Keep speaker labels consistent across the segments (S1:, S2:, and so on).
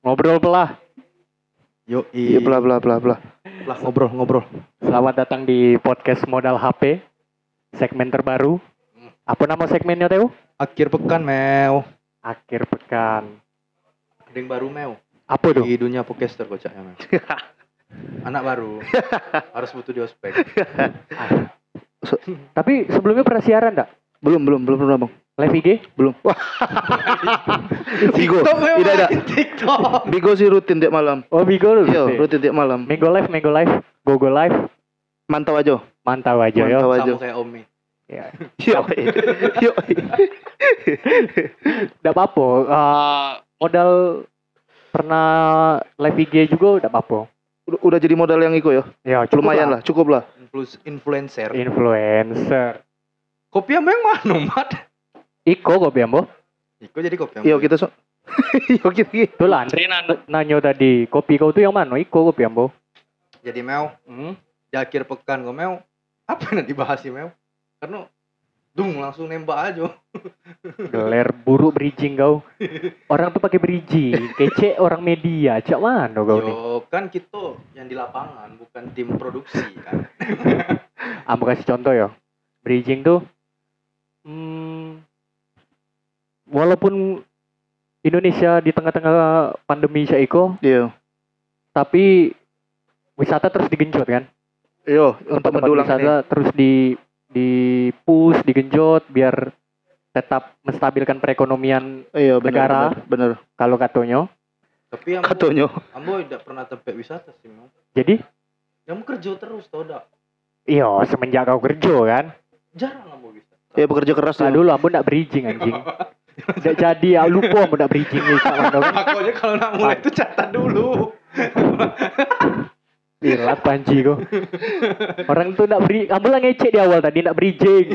S1: Ngobrol pelah.
S2: Yo,
S3: Iya, bla bla bla bla.
S2: lah ngobrol ngobrol.
S1: Selamat datang di podcast Modal HP. Segmen terbaru. Apa nama segmennya, Teo?
S2: Akhir pekan mew.
S1: Akhir pekan.
S2: Ada yang baru mew.
S1: Apa tuh?
S2: Di
S3: Iya.
S2: dunia podcaster kocaknya mew. Anak baru harus butuh diospek.
S1: Tapi sebelumnya pernah siaran enggak?
S3: Belum belum belum belum bang.
S1: Live IG?
S3: Belum. Bigo.
S2: Mew,
S3: Tidak ada.
S2: main TikTok.
S3: Bigo sih rutin tiap malam.
S1: Oh, Bigo dulu.
S3: Iya, rutin tiap malam.
S1: Minggu live, minggu live. Gogo live.
S3: Mantau aja.
S1: Mantau aja yo.
S3: Mantau aja.
S2: Sama kayak Omi.
S1: Ya.
S3: Yo. Yo.
S1: Enggak apa-apa. Eh, modal pernah live IG juga enggak apa-apa.
S3: Udah- Udah jadi modal yang iko ya.
S1: Ya, cukup
S3: Lumayan lah, cukup lah.
S2: Influ- influencer.
S3: Iya.
S1: Influencer.
S2: Kopi yang yang mana mat?
S1: Iko kok Biambo?
S2: Iko jadi kopi
S3: Yo
S2: yang.
S3: Iya, kita so. Yo kita. gitu. kita.
S1: Tuh lah, Andre nan- nanyo tadi, kopi kau tuh yang mana? Iko kok Biambo?
S2: Jadi mew.
S1: Hmm?
S2: Di akhir pekan gue mew. Apa yang dibahas sih mew? Karena dung langsung nembak aja.
S1: Geler buruk bridging kau. Orang tuh pakai bridging, kece orang media. Cak mana kau nih?
S2: Yo kan kita yang di lapangan bukan tim produksi kan.
S1: Aku kasih contoh ya. Bridging tuh hmm, walaupun Indonesia di tengah-tengah pandemi Cak Iko,
S3: Yo.
S1: tapi wisata terus digenjot kan?
S3: Yo. Untuk
S1: tempat-tempat
S3: mendulang
S1: wisata
S3: ini.
S1: terus di di push, digenjot biar tetap menstabilkan perekonomian
S3: Iya
S1: negara.
S3: benar. benar, Benar.
S1: kalau katonyo.
S2: Tapi yang
S3: Katonyo.
S2: Ambo tidak pernah tempat wisata sih, Mam.
S1: Jadi,
S2: Kamu kerja terus tau dak?
S1: iya semenjak kau kerja kan.
S2: Jarang Ambo bisa.
S3: Ya bekerja keras
S1: Lah
S3: tuh.
S1: dulu ambo ndak bridging anjing. Ndak jadi, aku lupa ambo ndak bridging nih. Cak, Mando.
S2: Makanya kalau nak mulai itu catat dulu.
S1: Gila panji kau. Orang tuh ndak beri, ambo lah ngecek di awal tadi ndak bridging.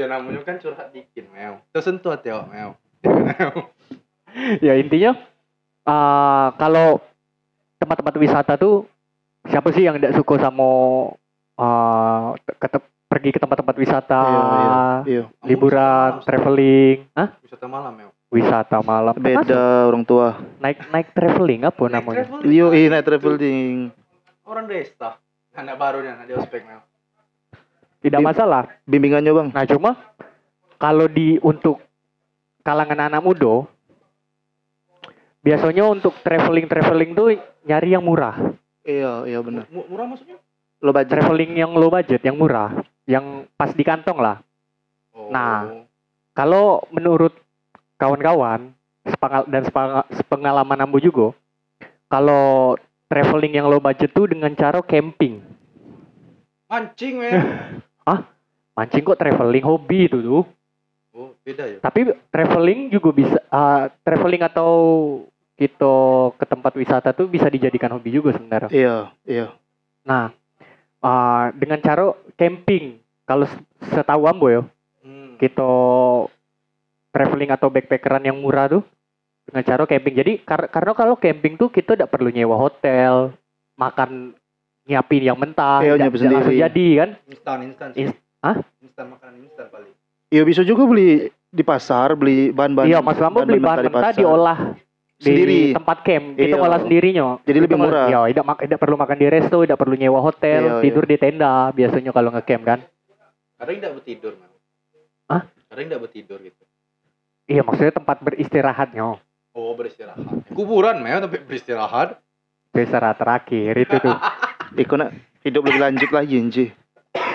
S2: ya namanya kan curhat dikit, Mel. Tersentuh hati awak, Mel. Mel.
S1: ya intinya ah, kalau tempat-tempat wisata tuh siapa sih yang tidak suka sama ah, te- ketep- pergi ke tempat-tempat wisata,
S3: Iya,
S1: Ah.
S3: Iya.
S2: Ambo
S1: liburan,
S2: wisata malam,
S1: traveling, Hah?
S2: Wisata malam, Mel.
S1: wisata malam. Termasuk
S3: Beda orang tua.
S1: Naik naik traveling apa
S2: Naik
S1: namanya? iya.
S2: travel,
S3: Yo,
S2: kan?
S3: ini night traveling.
S2: Orang desa. Anak baru nih, anak di ospek, Mel.
S1: Tidak
S3: Di-
S1: masalah.
S3: Bimbingannya bang.
S1: Nah cuma kalau di untuk kalangan anak muda biasanya untuk traveling traveling tuh nyari yang murah.
S3: Iya, iya benar.
S2: Mu- Murah maksudnya?
S3: Lo budget.
S1: traveling yang low budget, yang murah, yang pas di kantong lah.
S2: Oh.
S1: Nah. Kalau menurut kawan-kawan sepengal- dan sepengal- sepengalaman Ambo juga, kalau traveling yang low budget tuh dengan cara camping.
S2: Mancing, Mel.
S1: Mancing kok traveling hobi itu tuh.
S2: oh, beda ya.
S1: Tapi traveling juga bisa ah, traveling atau kita ke tempat wisata tuh bisa dijadikan hobi juga sebenarnya.
S3: Iya, iya.
S1: Nah, ah, dengan cara camping kalau se- setahu Ambo ya,
S2: Hmm.
S1: kita traveling atau backpackeran yang murah tuh dengan cara camping. Jadi kar- karena kalau camping tuh kita tidak perlu nyewa hotel, makan nyiapin yang mentah,
S3: Iya,
S1: nggak-
S3: nyiapin
S1: nggak langsung
S3: sendiri.
S1: jadi kan.
S2: Instan, instan.
S1: Ins- Hah?
S2: Instan, makanan instan paling.
S3: Iya bisa juga beli di pasar, beli bahan-bahan.
S1: iya, Mas Lambo beli bahan mentah
S3: pasar.
S1: diolah di
S3: sendiri.
S1: tempat camp. Kita
S3: Iya.
S1: olah sendirinya.
S3: Jadi
S1: Kita
S3: lebih
S1: nggak-
S3: murah.
S1: Iya, tidak mak- tidak perlu makan di resto, tidak perlu nyewa hotel,
S3: Iya,
S1: tidur di tenda biasanya kalau ngecamp kan.
S2: Kadang tidak bertidur, Mel.
S1: Hah?
S2: Kadang tidak bertidur gitu.
S1: Iya, maksudnya tempat beristirahatnya.
S2: Oh beristirahat. Kuburan mel tapi beristirahat.
S1: Istirahat terakhir itu tuh.
S3: Iko nak hidup lebih lanjut lagi Nji.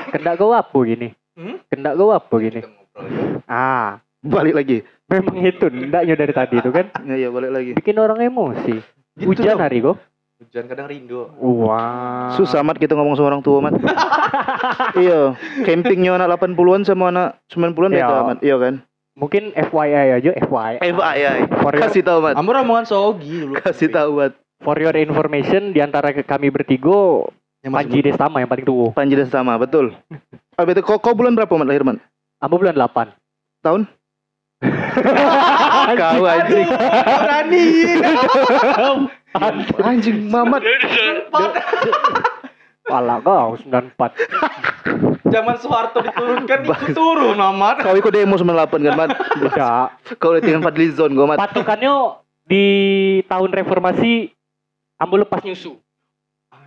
S1: Kendak gua apa gini?
S2: Hmm?
S1: Kendak gua apa gini?
S2: Kita ngobrol ya.
S1: Ah,
S3: Balik lagi.
S1: Memang itu ndaknya dari tadi itu kan
S3: Iya, iya balik lagi.
S1: bikin orang emosi.
S2: Gitu
S1: Hujan
S2: dong.
S1: hari kok.
S2: Hujan kadang rindu.
S1: Wah.
S3: Susah amat kita ngomong sama orang tua, Mat. iya, campingnya anak 80-an sama anak 90-an beda,
S1: Iya.
S3: Mat. Iya kan?
S1: Mungkin FYI aja FYI.
S3: Eh, FYI.
S1: For your,
S3: ya, Kasih tahu, Mat.
S2: Amor omongan sogi dulu.
S3: Kasih tahu, Mat.
S1: for your information di antara ke- kami bertigo
S2: Yang masih
S1: Panji Destama yang paling tua.
S3: Panji dan sama, betul. Ah, betul. Kau, kau bulan berapa, Mat, lahir, Mat?
S1: Ambo bulan 8.
S3: Tahun? Kau anjing.
S2: berani.
S3: Iya. Anjing, Mamat.
S1: Pala kau 94.
S2: Zaman Soeharto diturunkan ikut turun Mamat.
S3: Kau ikut demo 98 kan, Mat?
S1: Tidak.
S3: Kau udah tinggal Fadlizon, kau, Mat.
S1: Patokannya di tahun reformasi ambo lepas nyusu.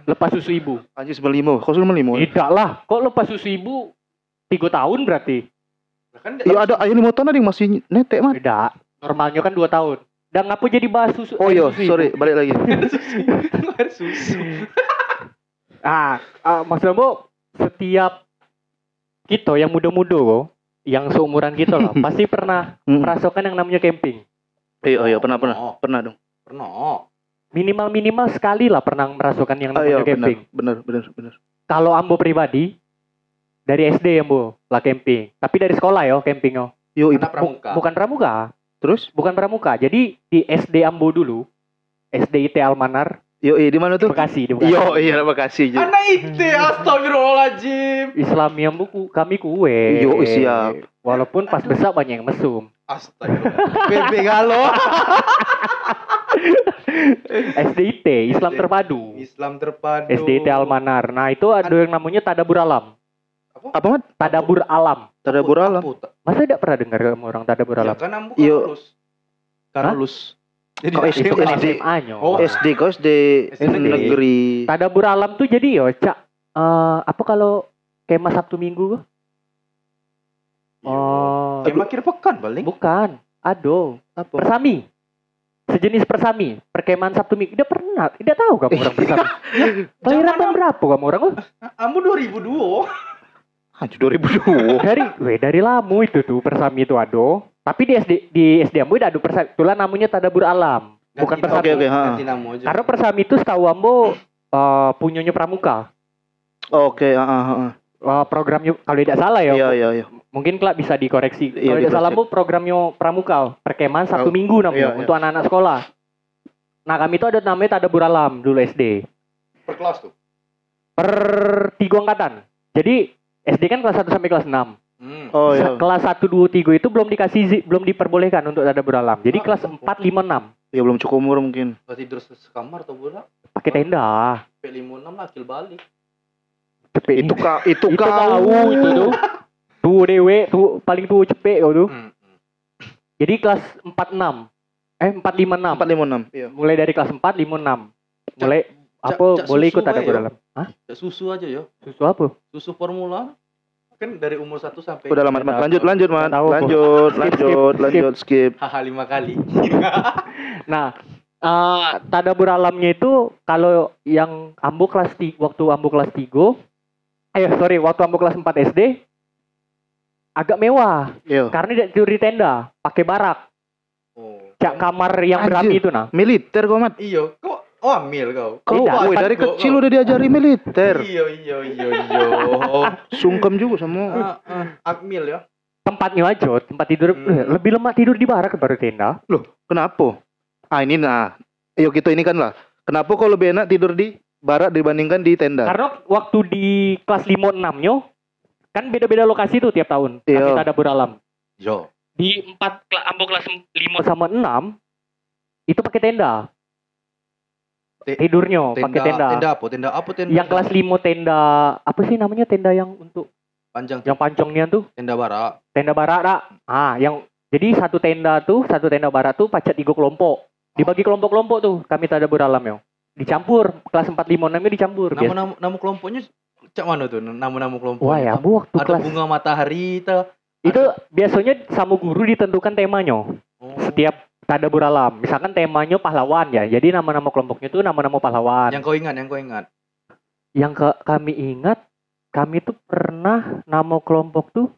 S1: Lepas susu ibu.
S3: Anjis melimo, kau sudah melimo. Iya
S1: Tidak lah, kok lepas susu ibu tiga tahun berarti?
S2: Lah kan
S3: Iya, ada ayo lima tahun ada yang masih netek mat.
S1: Tidak, normalnya kan dua tahun. Dan ngapa jadi bahas susu? eh,
S3: Oh iya,
S1: susu ibu?
S3: sorry, balik lagi.
S2: air susu.
S1: Ah, ah, maksud ambo setiap kita yang muda-muda kok, yang seumuran kita lah, pasti pernah
S3: Hmm.
S1: merasakan yang namanya camping.
S3: Iya, iya, pernah, pernah,
S2: Oh.
S3: pernah dong.
S2: Pernah.
S1: Minimal-minimal sekali lah pernah merasakan yang
S3: Ah,
S1: namanya
S3: iya, benar,
S1: camping.
S3: benar, benar, benar.
S1: Kalau ambo pribadi, dari SD ambo lah camping. Tapi dari sekolah yo camping yo.
S3: Yo, ibu.
S2: Anak pramuka.
S1: Bukan pramuka,
S3: Terus?
S1: bukan pramuka. Jadi di SD ambo dulu, SD IT Almanar,
S3: Yo, iya, di mana tuh?
S1: Bekasi, di Bekasi.
S3: Yo, iya, makasih. Ji.
S2: Anak itu astagfirullahaladzim.
S1: Islamnya buku kami kue.
S3: Yo, siap.
S1: Walaupun pas besar banyak yang mesum.
S2: Astagfirullah.
S3: Bebe galo.
S1: SDIT, Islam Terpadu.
S2: Islam terpadu.
S1: SDIT Almanar. Nah, itu ada yang namanya Tadabur Alam.
S3: Apa mat?
S1: Tadabur Alam.
S3: Tadabur alam.
S1: Masa tidak pernah dengar kamu orang Tadabur
S2: Ya
S1: Alam?
S2: kan ambu
S3: Iya.
S2: Karolus. Karolus. Jadi
S3: Kok
S2: SD
S3: itu
S2: malah.
S3: SD?
S1: SMA-nya.
S2: Oh.
S3: SD kau SD
S2: SD.
S3: negeri.
S1: Tadabur Alam tuh jadi yo, Cak. eh, apa kalau kemah Sabtu Minggu? Oh,
S2: Kayak makin pekan paling.
S1: bukan. Aduh,
S3: Apa?
S1: persami. Sejenis persami, perkemahan Sabtu Minggu. Tidak pernah, tidak tahu kamu orang persami. Bayaran
S2: Zaman
S1: bang berapa kamu orang? Oh,
S2: Ambu 2002.
S3: Anjir 2002.
S1: dari weh, dari lamu itu tuh persami itu ado. Tapi di SD di SD ambo tidak ado persami. Itulah namanya tadabur alam. Bukan
S2: Ganti-
S1: persami.
S3: Oke, oke, ha.
S2: Ganti nama aja.
S1: Karena persami itu setahu ambo eh, punyanya pramuka.
S3: Oke, ah, ah, ah.
S1: Eh, programnya kalau tidak salah ya.
S3: Iya, iya, iya.
S1: Mungkin kelak bisa dikoreksi.
S3: Iya,
S1: kalau tidak
S3: dikoreksi.
S1: salah ambo programnya pramuka Perkemahan Sabtu
S3: Oh,
S1: Minggu namanya
S3: iya, iya.
S1: untuk anak-anak sekolah. Nah, kami itu ada namanya tadabur alam dulu SD.
S2: per kelas tuh.
S1: Per tiga angkatan. Jadi SD kan kelas 1 sampai kelas 6.
S2: Hmm.
S3: Oh, iya.
S1: Kelas 1 2 3 itu belum dikasih izin- belum diperbolehkan untuk tadabur alam. Jadi
S2: Ah,
S1: kelas
S2: ampun.
S1: 4 5 6
S3: Ya belum cukup umur mungkin.
S2: Pas tidur se- sekamar atau bola.
S1: pakai tenda
S2: P56 lah kill balik.
S1: cepet
S3: Itu ka, itu,
S1: itu
S3: kau.
S1: kau itu tuh tuh dewe tuh paling tuh cepet kau tuh
S2: Hmm.
S1: jadi kelas 46 eh 456
S3: Empat lima enam. Iya.
S1: mulai dari kelas 4 56 mulai
S2: cak-
S1: apa
S2: cak
S1: boleh
S2: susu
S1: ikut ada ke
S2: bae, yo.
S1: dalam Hah?
S2: Ya, Susu aja ya.
S1: susu apa
S2: Susu formula. Kan dari umur 1 sampai
S3: Udah lama, Mat. Lanjut, lanjut, Mat.
S1: Nggak tahu, Bu.
S3: Lanjut,
S1: Skip,
S3: lanjut,
S1: skip,
S3: lanjut, skip.
S2: Haha lima kali.
S1: nah eh tadabur alamnya itu kalau yang ambu kelas 3 waktu ambu kelas 3 eh sorry waktu ambu kelas 4 SD agak mewah
S3: Iya.
S1: karena tidak tidur di tenda pakai barak
S2: Oh.
S1: cak kamar yang berami
S3: Anjir.
S1: itu nah
S3: Militer kau, Mat.
S2: Iya, kok oh ambil kau.
S3: Kau,
S1: Tidak.
S3: woi, dari
S2: Kau-
S3: kecil udah diajari militer.
S2: Iya, iya, iya, iya.
S3: Sungkem juga sama.
S2: Ah, ah, Akmil ya.
S1: tempatnya aja tempat tidur eh,
S2: Hmm.
S1: lebih lemah tidur di barak daripada tenda
S3: Kenapa? Ah, ini nah. Yo kita ini kan lah. Kenapa kau lebih enak tidur di barat dibandingkan di tenda?
S1: karena waktu di kelas 5 6 nyo kan beda-beda lokasi tuh tiap tahun kami
S3: Iya.
S1: tadabur alam
S2: Jo.
S1: di 4 ambo kelas 5 sama 6 itu pakai tenda
S2: Te-
S1: tidurnya
S2: Tenda,
S1: pakai tenda.
S2: tenda apa? Tenda apa tenda?
S1: yang kelas 5 tenda apa sih namanya tenda yang untuk
S2: panjang
S1: yang pancongnya tuh
S2: tenda bara.
S1: tenda barak Ra. ah yang jadi satu tenda tuh satu tenda barak tuh pacat tiga kelompok dibagi kelompok-kelompok tuh kami tadabur alam yo dicampur kelas 4 5 6 nya dicampur biasa.
S2: Nama-nama nama kelompoknya cak mana tuh? Nama-nama
S1: ya?
S2: kelompoknya.
S1: Wah ya, bu waktu
S2: Ada
S1: kelas
S2: bunga matahari ta.
S1: itu biasanya sama guru ditentukan temanya
S2: Oh.
S1: setiap tadabur alam. Misalkan temanya pahlawan ya. Jadi nama-nama kelompoknya itu nama-nama pahlawan. Yang,
S2: Yang kau ingat, yang kau ingat.
S1: ke- kami ingat kami tuh pernah nama kelompok tuh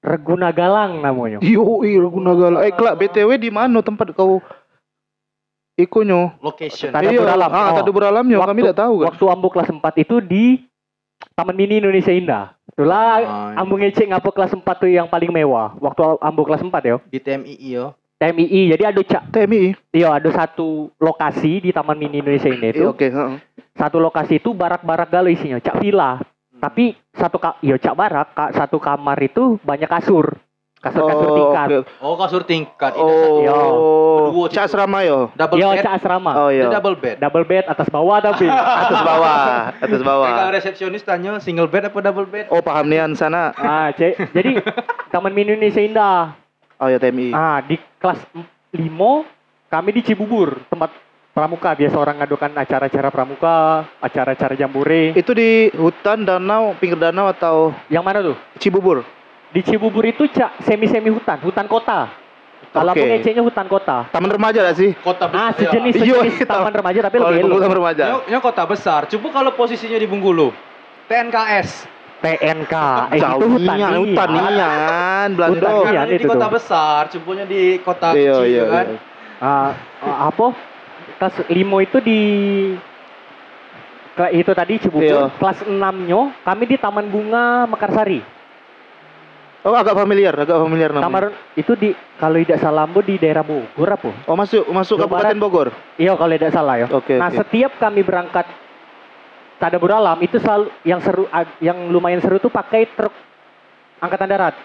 S1: Reguna Galang namanya.
S3: Yo, iya, guna galak. Eh, kelak BTW di mana tempat kau ikonyo?
S2: Location.
S1: Tanda
S3: Iya.
S1: Buralam.
S3: Ah,
S1: Oh.
S3: tanda buralamnya
S1: Waktu-
S3: kami tidak tahu kan.
S1: Waktu ambo kelas 4 itu di Taman Mini Indonesia Indah. Itulah
S2: Ah,
S1: ambo ngecek ngapo kelas 4 tuh yang paling mewah. Waktu ambo kelas 4 ya.
S2: di TMII yo.
S1: TMII. Jadi ada cak,
S3: TMI.
S1: iya ada satu lokasi di Taman Mini Indonesia ini itu.
S3: Iya, oke, heeh.
S1: satu lokasi itu barak-barak galau isinya cak villa tapi satu ka yo cak barak ka- satu kamar itu banyak kasur kasur kasur tingkat
S3: oke.
S2: Oh, kasur tingkat. Ini
S1: Iya.
S3: Oh,
S2: Berdua
S3: cak
S2: gitu.
S3: asrama yo.
S2: Double
S1: yo
S2: bed.
S1: Ya, cak asrama
S3: Oh
S2: Itu
S3: iya.
S2: double bed.
S1: double bed atas bawah tapi
S3: Atas bawah, atas bawah.
S2: Kakak resepsionis tanya single bed apa double bed?
S3: Oh, paham nian sana.
S1: ah cek jadi taman mini Indonesia indah
S3: Oh ya TMI.
S1: ah di kelas 5 Kami di Cibubur, tempat pramuka biasa orang ngadukan acara-acara pramuka, acara-acara jambore.
S3: Itu di hutan, danau, pinggir danau atau
S1: Yang mana tuh?
S3: Cibubur?
S1: Di Cibubur itu cak semi-semi hutan, hutan kota. Kalau
S3: Oke.
S1: ngeceknya hutan kota.
S3: Taman remaja gak sih?
S2: Kota
S1: Ah,
S2: besar.
S1: sejenis
S3: Iya,
S1: sejenis
S3: iya.
S1: taman remaja tapi
S3: Kalau di
S1: lebih
S3: Bengkulu
S1: elok.
S3: taman remaja.
S2: Ini- ini kota besar. Coba kalau posisinya di Bengkulu. TNKS.
S1: TNK, eh, itu
S3: Jauh
S1: hutan,
S3: nian,
S1: iya.
S3: hutan nian, Belanda.
S1: Hutan,
S2: kan
S1: iya,
S2: ada di
S1: itu
S2: kota
S1: tuh.
S2: besar, cumpunya di kota
S3: Iya,
S2: kecil
S3: iya,
S2: kan.
S3: iya.
S1: Ah, ah, apa? Kelas limo itu di ke- itu tadi Cibubur,
S3: Iya.
S1: kelas 6-nya kami di Taman Bunga Mekarsari.
S3: Oh, agak familiar, agak familiar namanya.
S1: Taman itu di kalau tidak salah Bu, di daerah Bogor apa?
S3: Oh, masuk masuk
S1: Jawa
S3: Kabupaten Bogor.
S1: Iya kalau tidak salah ya.
S3: Oke,
S1: Nah,
S3: oke.
S1: setiap kami berangkat Tadabur Alam itu selalu yang seru ag- yang lumayan seru tuh pakai truk angkatan darat.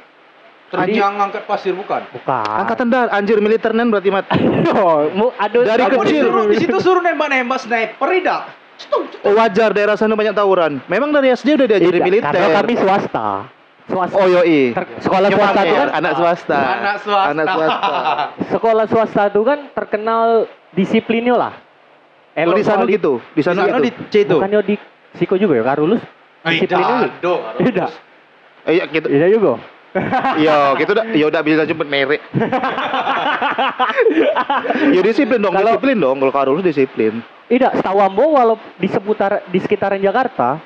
S2: Terjang angkat pasir bukan.
S1: Bukan.
S3: Angkatan darat, anjir militer nen berarti mat.
S1: Yo, Oh, mu aduh
S3: Dari
S1: aku
S2: Kamu
S3: kecil.
S2: disuruh di situ suruh nembak-nembak sniper tidak. Cetung, cetung.
S3: Oh, wajar daerah sana banyak tawuran. Memang dari SD udah diajari
S1: Tidak,
S3: militer.
S1: Iya, Karena kami swasta. Swasta.
S3: Oh ya? yoi.
S1: Ter- sekolah
S3: Yang
S1: swasta
S3: pamer,
S1: itu kan
S3: anak swasta.
S2: Anak swasta.
S3: Anak swasta.
S1: sekolah swasta itu kan terkenal disiplinnya lah.
S3: Oh, di sana
S1: soal-
S3: gitu, di
S2: Di
S3: sana
S2: sana di
S3: gitu.
S2: C itu.
S1: Bukannya di psiko juga ya, kan lulus?
S2: Oh, iya.
S1: Disiplinnya
S2: Tidak dong. harus.
S1: Tidak.
S3: Iya gitu.
S1: Iya juga.
S3: Iya, gitu dah. Ya udah bisa cepet merek. ya disiplin dong,
S1: Kalau-
S3: disiplin dong. Kalau harus disiplin.
S1: Tidak, setahu Ambo walau di seputar di sekitaran Jakarta,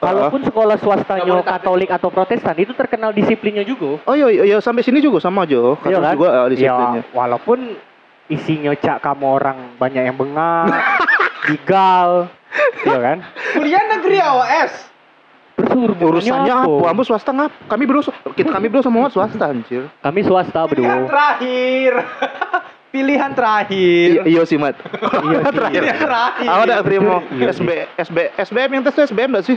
S1: walaupun sekolah
S2: Nggak
S1: swastanya
S2: boleh takut.
S1: Katolik atau Protestan itu terkenal disiplinnya juga.
S3: Oh iya, iya sampai sini juga sama aja. Harus
S1: Iya kan?
S3: juga eh, disiplinnya.
S1: Ya, walaupun isinya cak kamu orang banyak yang bengak, gigal, iya kan?
S2: Kuliah negeri AWS.
S1: Terus
S3: Urusannya apa? Ambo swasta ngap? Kami berdua, sw- kita kami berdua semua swasta anjir.
S1: Kami swasta Iya,
S2: Pilihan
S1: bro.
S2: terakhir. Pilihan terakhir.
S3: Iya iya sih mat.
S1: Iya sih.
S3: terakhir.
S2: Pilihan terakhir.
S3: Aku ada Primo
S1: Iya.
S3: SB SB SBM yang tes tuh SBM enggak sih?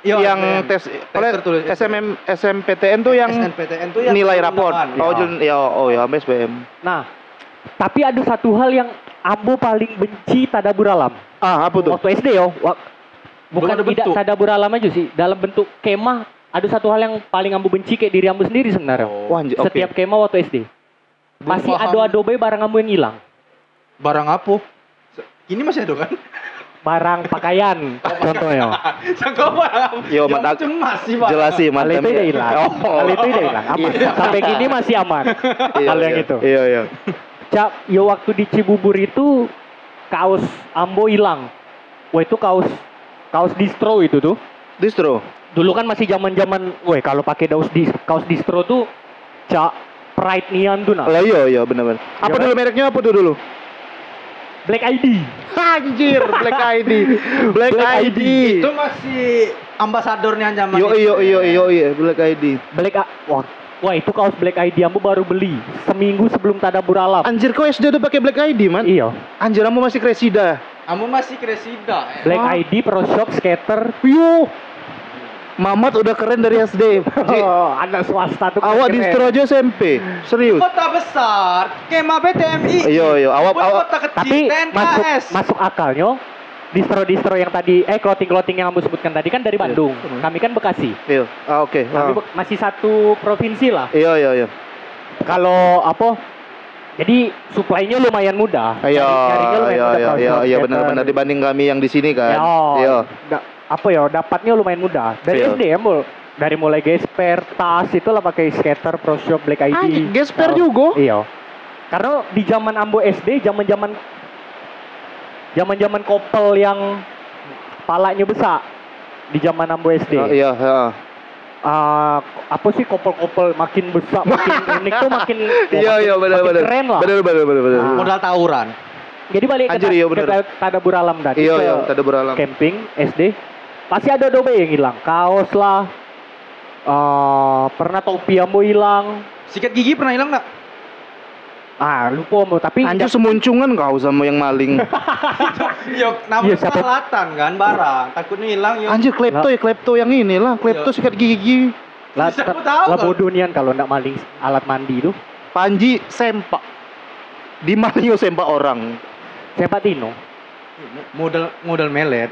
S2: Iya,
S3: yang
S2: SBM.
S3: tes oleh
S2: tertulis.
S3: SMM SMPTN tuh yang
S2: SNPTN tuh yang
S3: nilai rapor.
S2: penggunaan.
S3: Oh,
S1: Iya.
S3: jun, ya oh ya sampai SBM.
S1: Nah, tapi ada satu hal yang Ambo paling benci tadabur alam.
S3: Ah, apa tuh?
S1: Waktu SD yo, wak- bukan
S2: ada
S1: tidak
S2: bentuk.
S1: tadabur alam aja sih, dalam bentuk kemah ada satu hal yang paling Ambo benci kayak diri Ambo sendiri sebenarnya.
S2: Oh.
S3: iya. Wah, anjir, oke.
S1: Setiap kemah waktu SD.
S2: Belum
S1: Masih
S2: paham.
S1: ado-ado bae barang Ambo yang hilang.
S2: Barang apa? Ini masih ada kan?
S1: Barang pakaian contohnya.
S2: Sangka barang.
S3: Yo,
S2: Yang
S3: Mat,
S2: penting masih barang.
S3: Jelas sih mat.
S1: Hal itu
S3: Em,
S1: udah
S3: ya.
S1: hilang.
S3: Oh.
S1: Hal itu udah hilang. Aman.
S3: Iya.
S1: Sampai kini masih aman.
S3: Iya,
S1: Hal yang
S3: iya.
S1: itu.
S3: Iya, iya.
S1: Cak, yo waktu di Cibubur itu kaos Ambo hilang. Wah itu kaos kaos distro itu tuh.
S3: Distro.
S1: Dulu kan masih zaman-zaman, weh kalau pakai kaos dis- kaos distro tuh cak pride nian tuh nah.
S3: Lah iya iya benar-benar. Apa
S1: Iya,
S3: dulu mereknya apa tuh dulu?
S1: Black ID.
S3: Anjir, Black ID. Black,
S1: Black
S3: ID.
S2: Itu masih ambasadornya zaman
S3: Yo
S2: itu.
S3: yo yo yo yo Black ID.
S1: Black A- wah, wah itu kaos Black ID Ambo baru beli seminggu sebelum tadabur alam.
S3: Anjir kok SD udah pakai Black ID, man?
S1: Iya,
S3: Anjir kamu masih kresida.
S2: Kamu masih kresida. eh.
S1: Black
S3: Ah.
S1: ID Pro Shop Skater.
S3: Yo. Mamat udah keren dari SD. Ji,
S1: Oh, anak swasta tuh
S3: awak
S1: keren-keren.
S3: distro aja SMP. Serius.
S2: Kota besar, kema PTMI.
S3: Yo yo, awak
S2: Buat
S3: awak
S2: kota kecil,
S1: Tapi masuk
S2: TNKS.
S1: masuk akalnya distro-distro yang tadi eh clothing-clothing yang kamu sebutkan tadi kan dari
S3: Iya.
S1: Bandung.
S3: Hmm.
S1: Kami kan Bekasi.
S3: Yo. Ah oke.
S1: Kami
S3: Ah.
S1: be- masih satu provinsi lah.
S3: Iya iya iya.
S1: Kalau apa jadi suplainya lumayan mudah.
S3: Ayo,
S1: Cari-carinya lumayan
S3: ayo,
S1: mudah
S3: ayo,
S1: kalau
S3: ayo,
S1: shop
S3: iya
S1: skater.
S3: benar-benar dibanding kami yang di sini kan.
S1: Ya,
S3: Iya.
S1: da- apa ya dapatnya lumayan mudah. Dari
S3: Iya.
S1: SD ya, Mul. Dari mulai gesper, tas itulah pakai skater, pro shop, black ID.
S3: Anjir, gesper
S1: Kalau-
S3: juga.
S1: Iya. Karena di zaman Ambo SD, zaman-zaman zaman-zaman kopel yang palanya besar di zaman Ambo SD.
S3: Iya, iya. iya.
S1: Ah, apa sih kopel-kopel makin besar, makin unik tuh makin
S3: Iya, iya,
S1: makin
S3: benar-benar.
S1: keren lah.
S3: Benar-benar benar-benar.
S1: Ah.
S2: modal tawuran.
S1: Jadi balik ke,
S3: Anjir,
S1: ta-
S3: iya,
S1: ke
S3: benar.
S1: ta- Tadabur Alam tadi
S3: Iya,
S1: ke
S3: iya, tadi beralam.
S1: camping SD pasti ada dobe yang hilang, kaos lah. Ah, pernah topi Ambo hilang.
S2: Sikat gigi pernah hilang nggak?
S1: Ah, lupa Ambo, tapi
S3: Anjir semuncungan kau sama yang maling.
S2: Yo,
S1: Iya,
S2: namanya
S1: siapa-
S2: peralatan kan barang. Takutnya hilang yo.
S3: Anjir klepto ya klepto yang inilah, klepto
S2: Iya.
S3: sikat gigi.
S1: lah,
S2: Bisa aku tahu
S1: lah
S2: kan?
S1: bodoh nian kalau ndak maling alat mandi itu.
S3: Panji sempak. Di Mario sempak orang.
S1: Siapa Tino?
S2: Modal modal melet.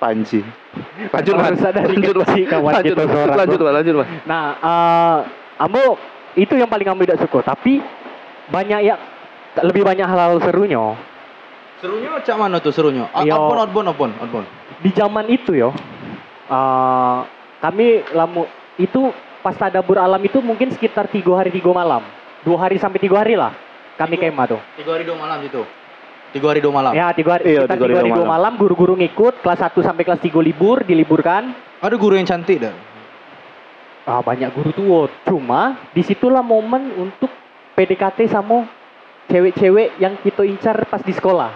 S3: Panji. Lanjut, Mat.
S1: Harus sadari
S3: Lanjut, Mat.
S1: kecil kawan
S3: Lanjut,
S1: kita
S3: Mat.
S1: seorang,
S3: lanjut, Mat. lanjut, Mat.
S1: Nah, eh Ambo itu yang paling Ambo tidak suka. Tapi banyak ya lebih banyak hal-hal serunya
S2: Serunya cak mana tuh serunya? A-
S1: Yo.
S3: Iya.
S2: Outbound, outbound, outbound, outbound.
S1: di zaman itu yo eh, kami lamu itu pas tadabur alam itu mungkin sekitar tiga hari tiga malam dua hari sampai tiga hari lah kami
S2: Tiga- Ah.
S1: kemah tuh
S2: Tiga hari dua malam situ. Tiga hari dua malam.
S1: ya tiga hari
S3: Iya,
S1: sekitar
S3: tiga hari
S1: tiga hari
S3: dua
S1: dua malam guru-guru ngikut kelas 1 sampai kelas 3 libur kan. diliburkan
S2: Ada guru yang cantik dah.
S1: ah banyak guru tua cuma disitulah momen untuk PDKT sama cewek-cewek yang kita incar pas di sekolah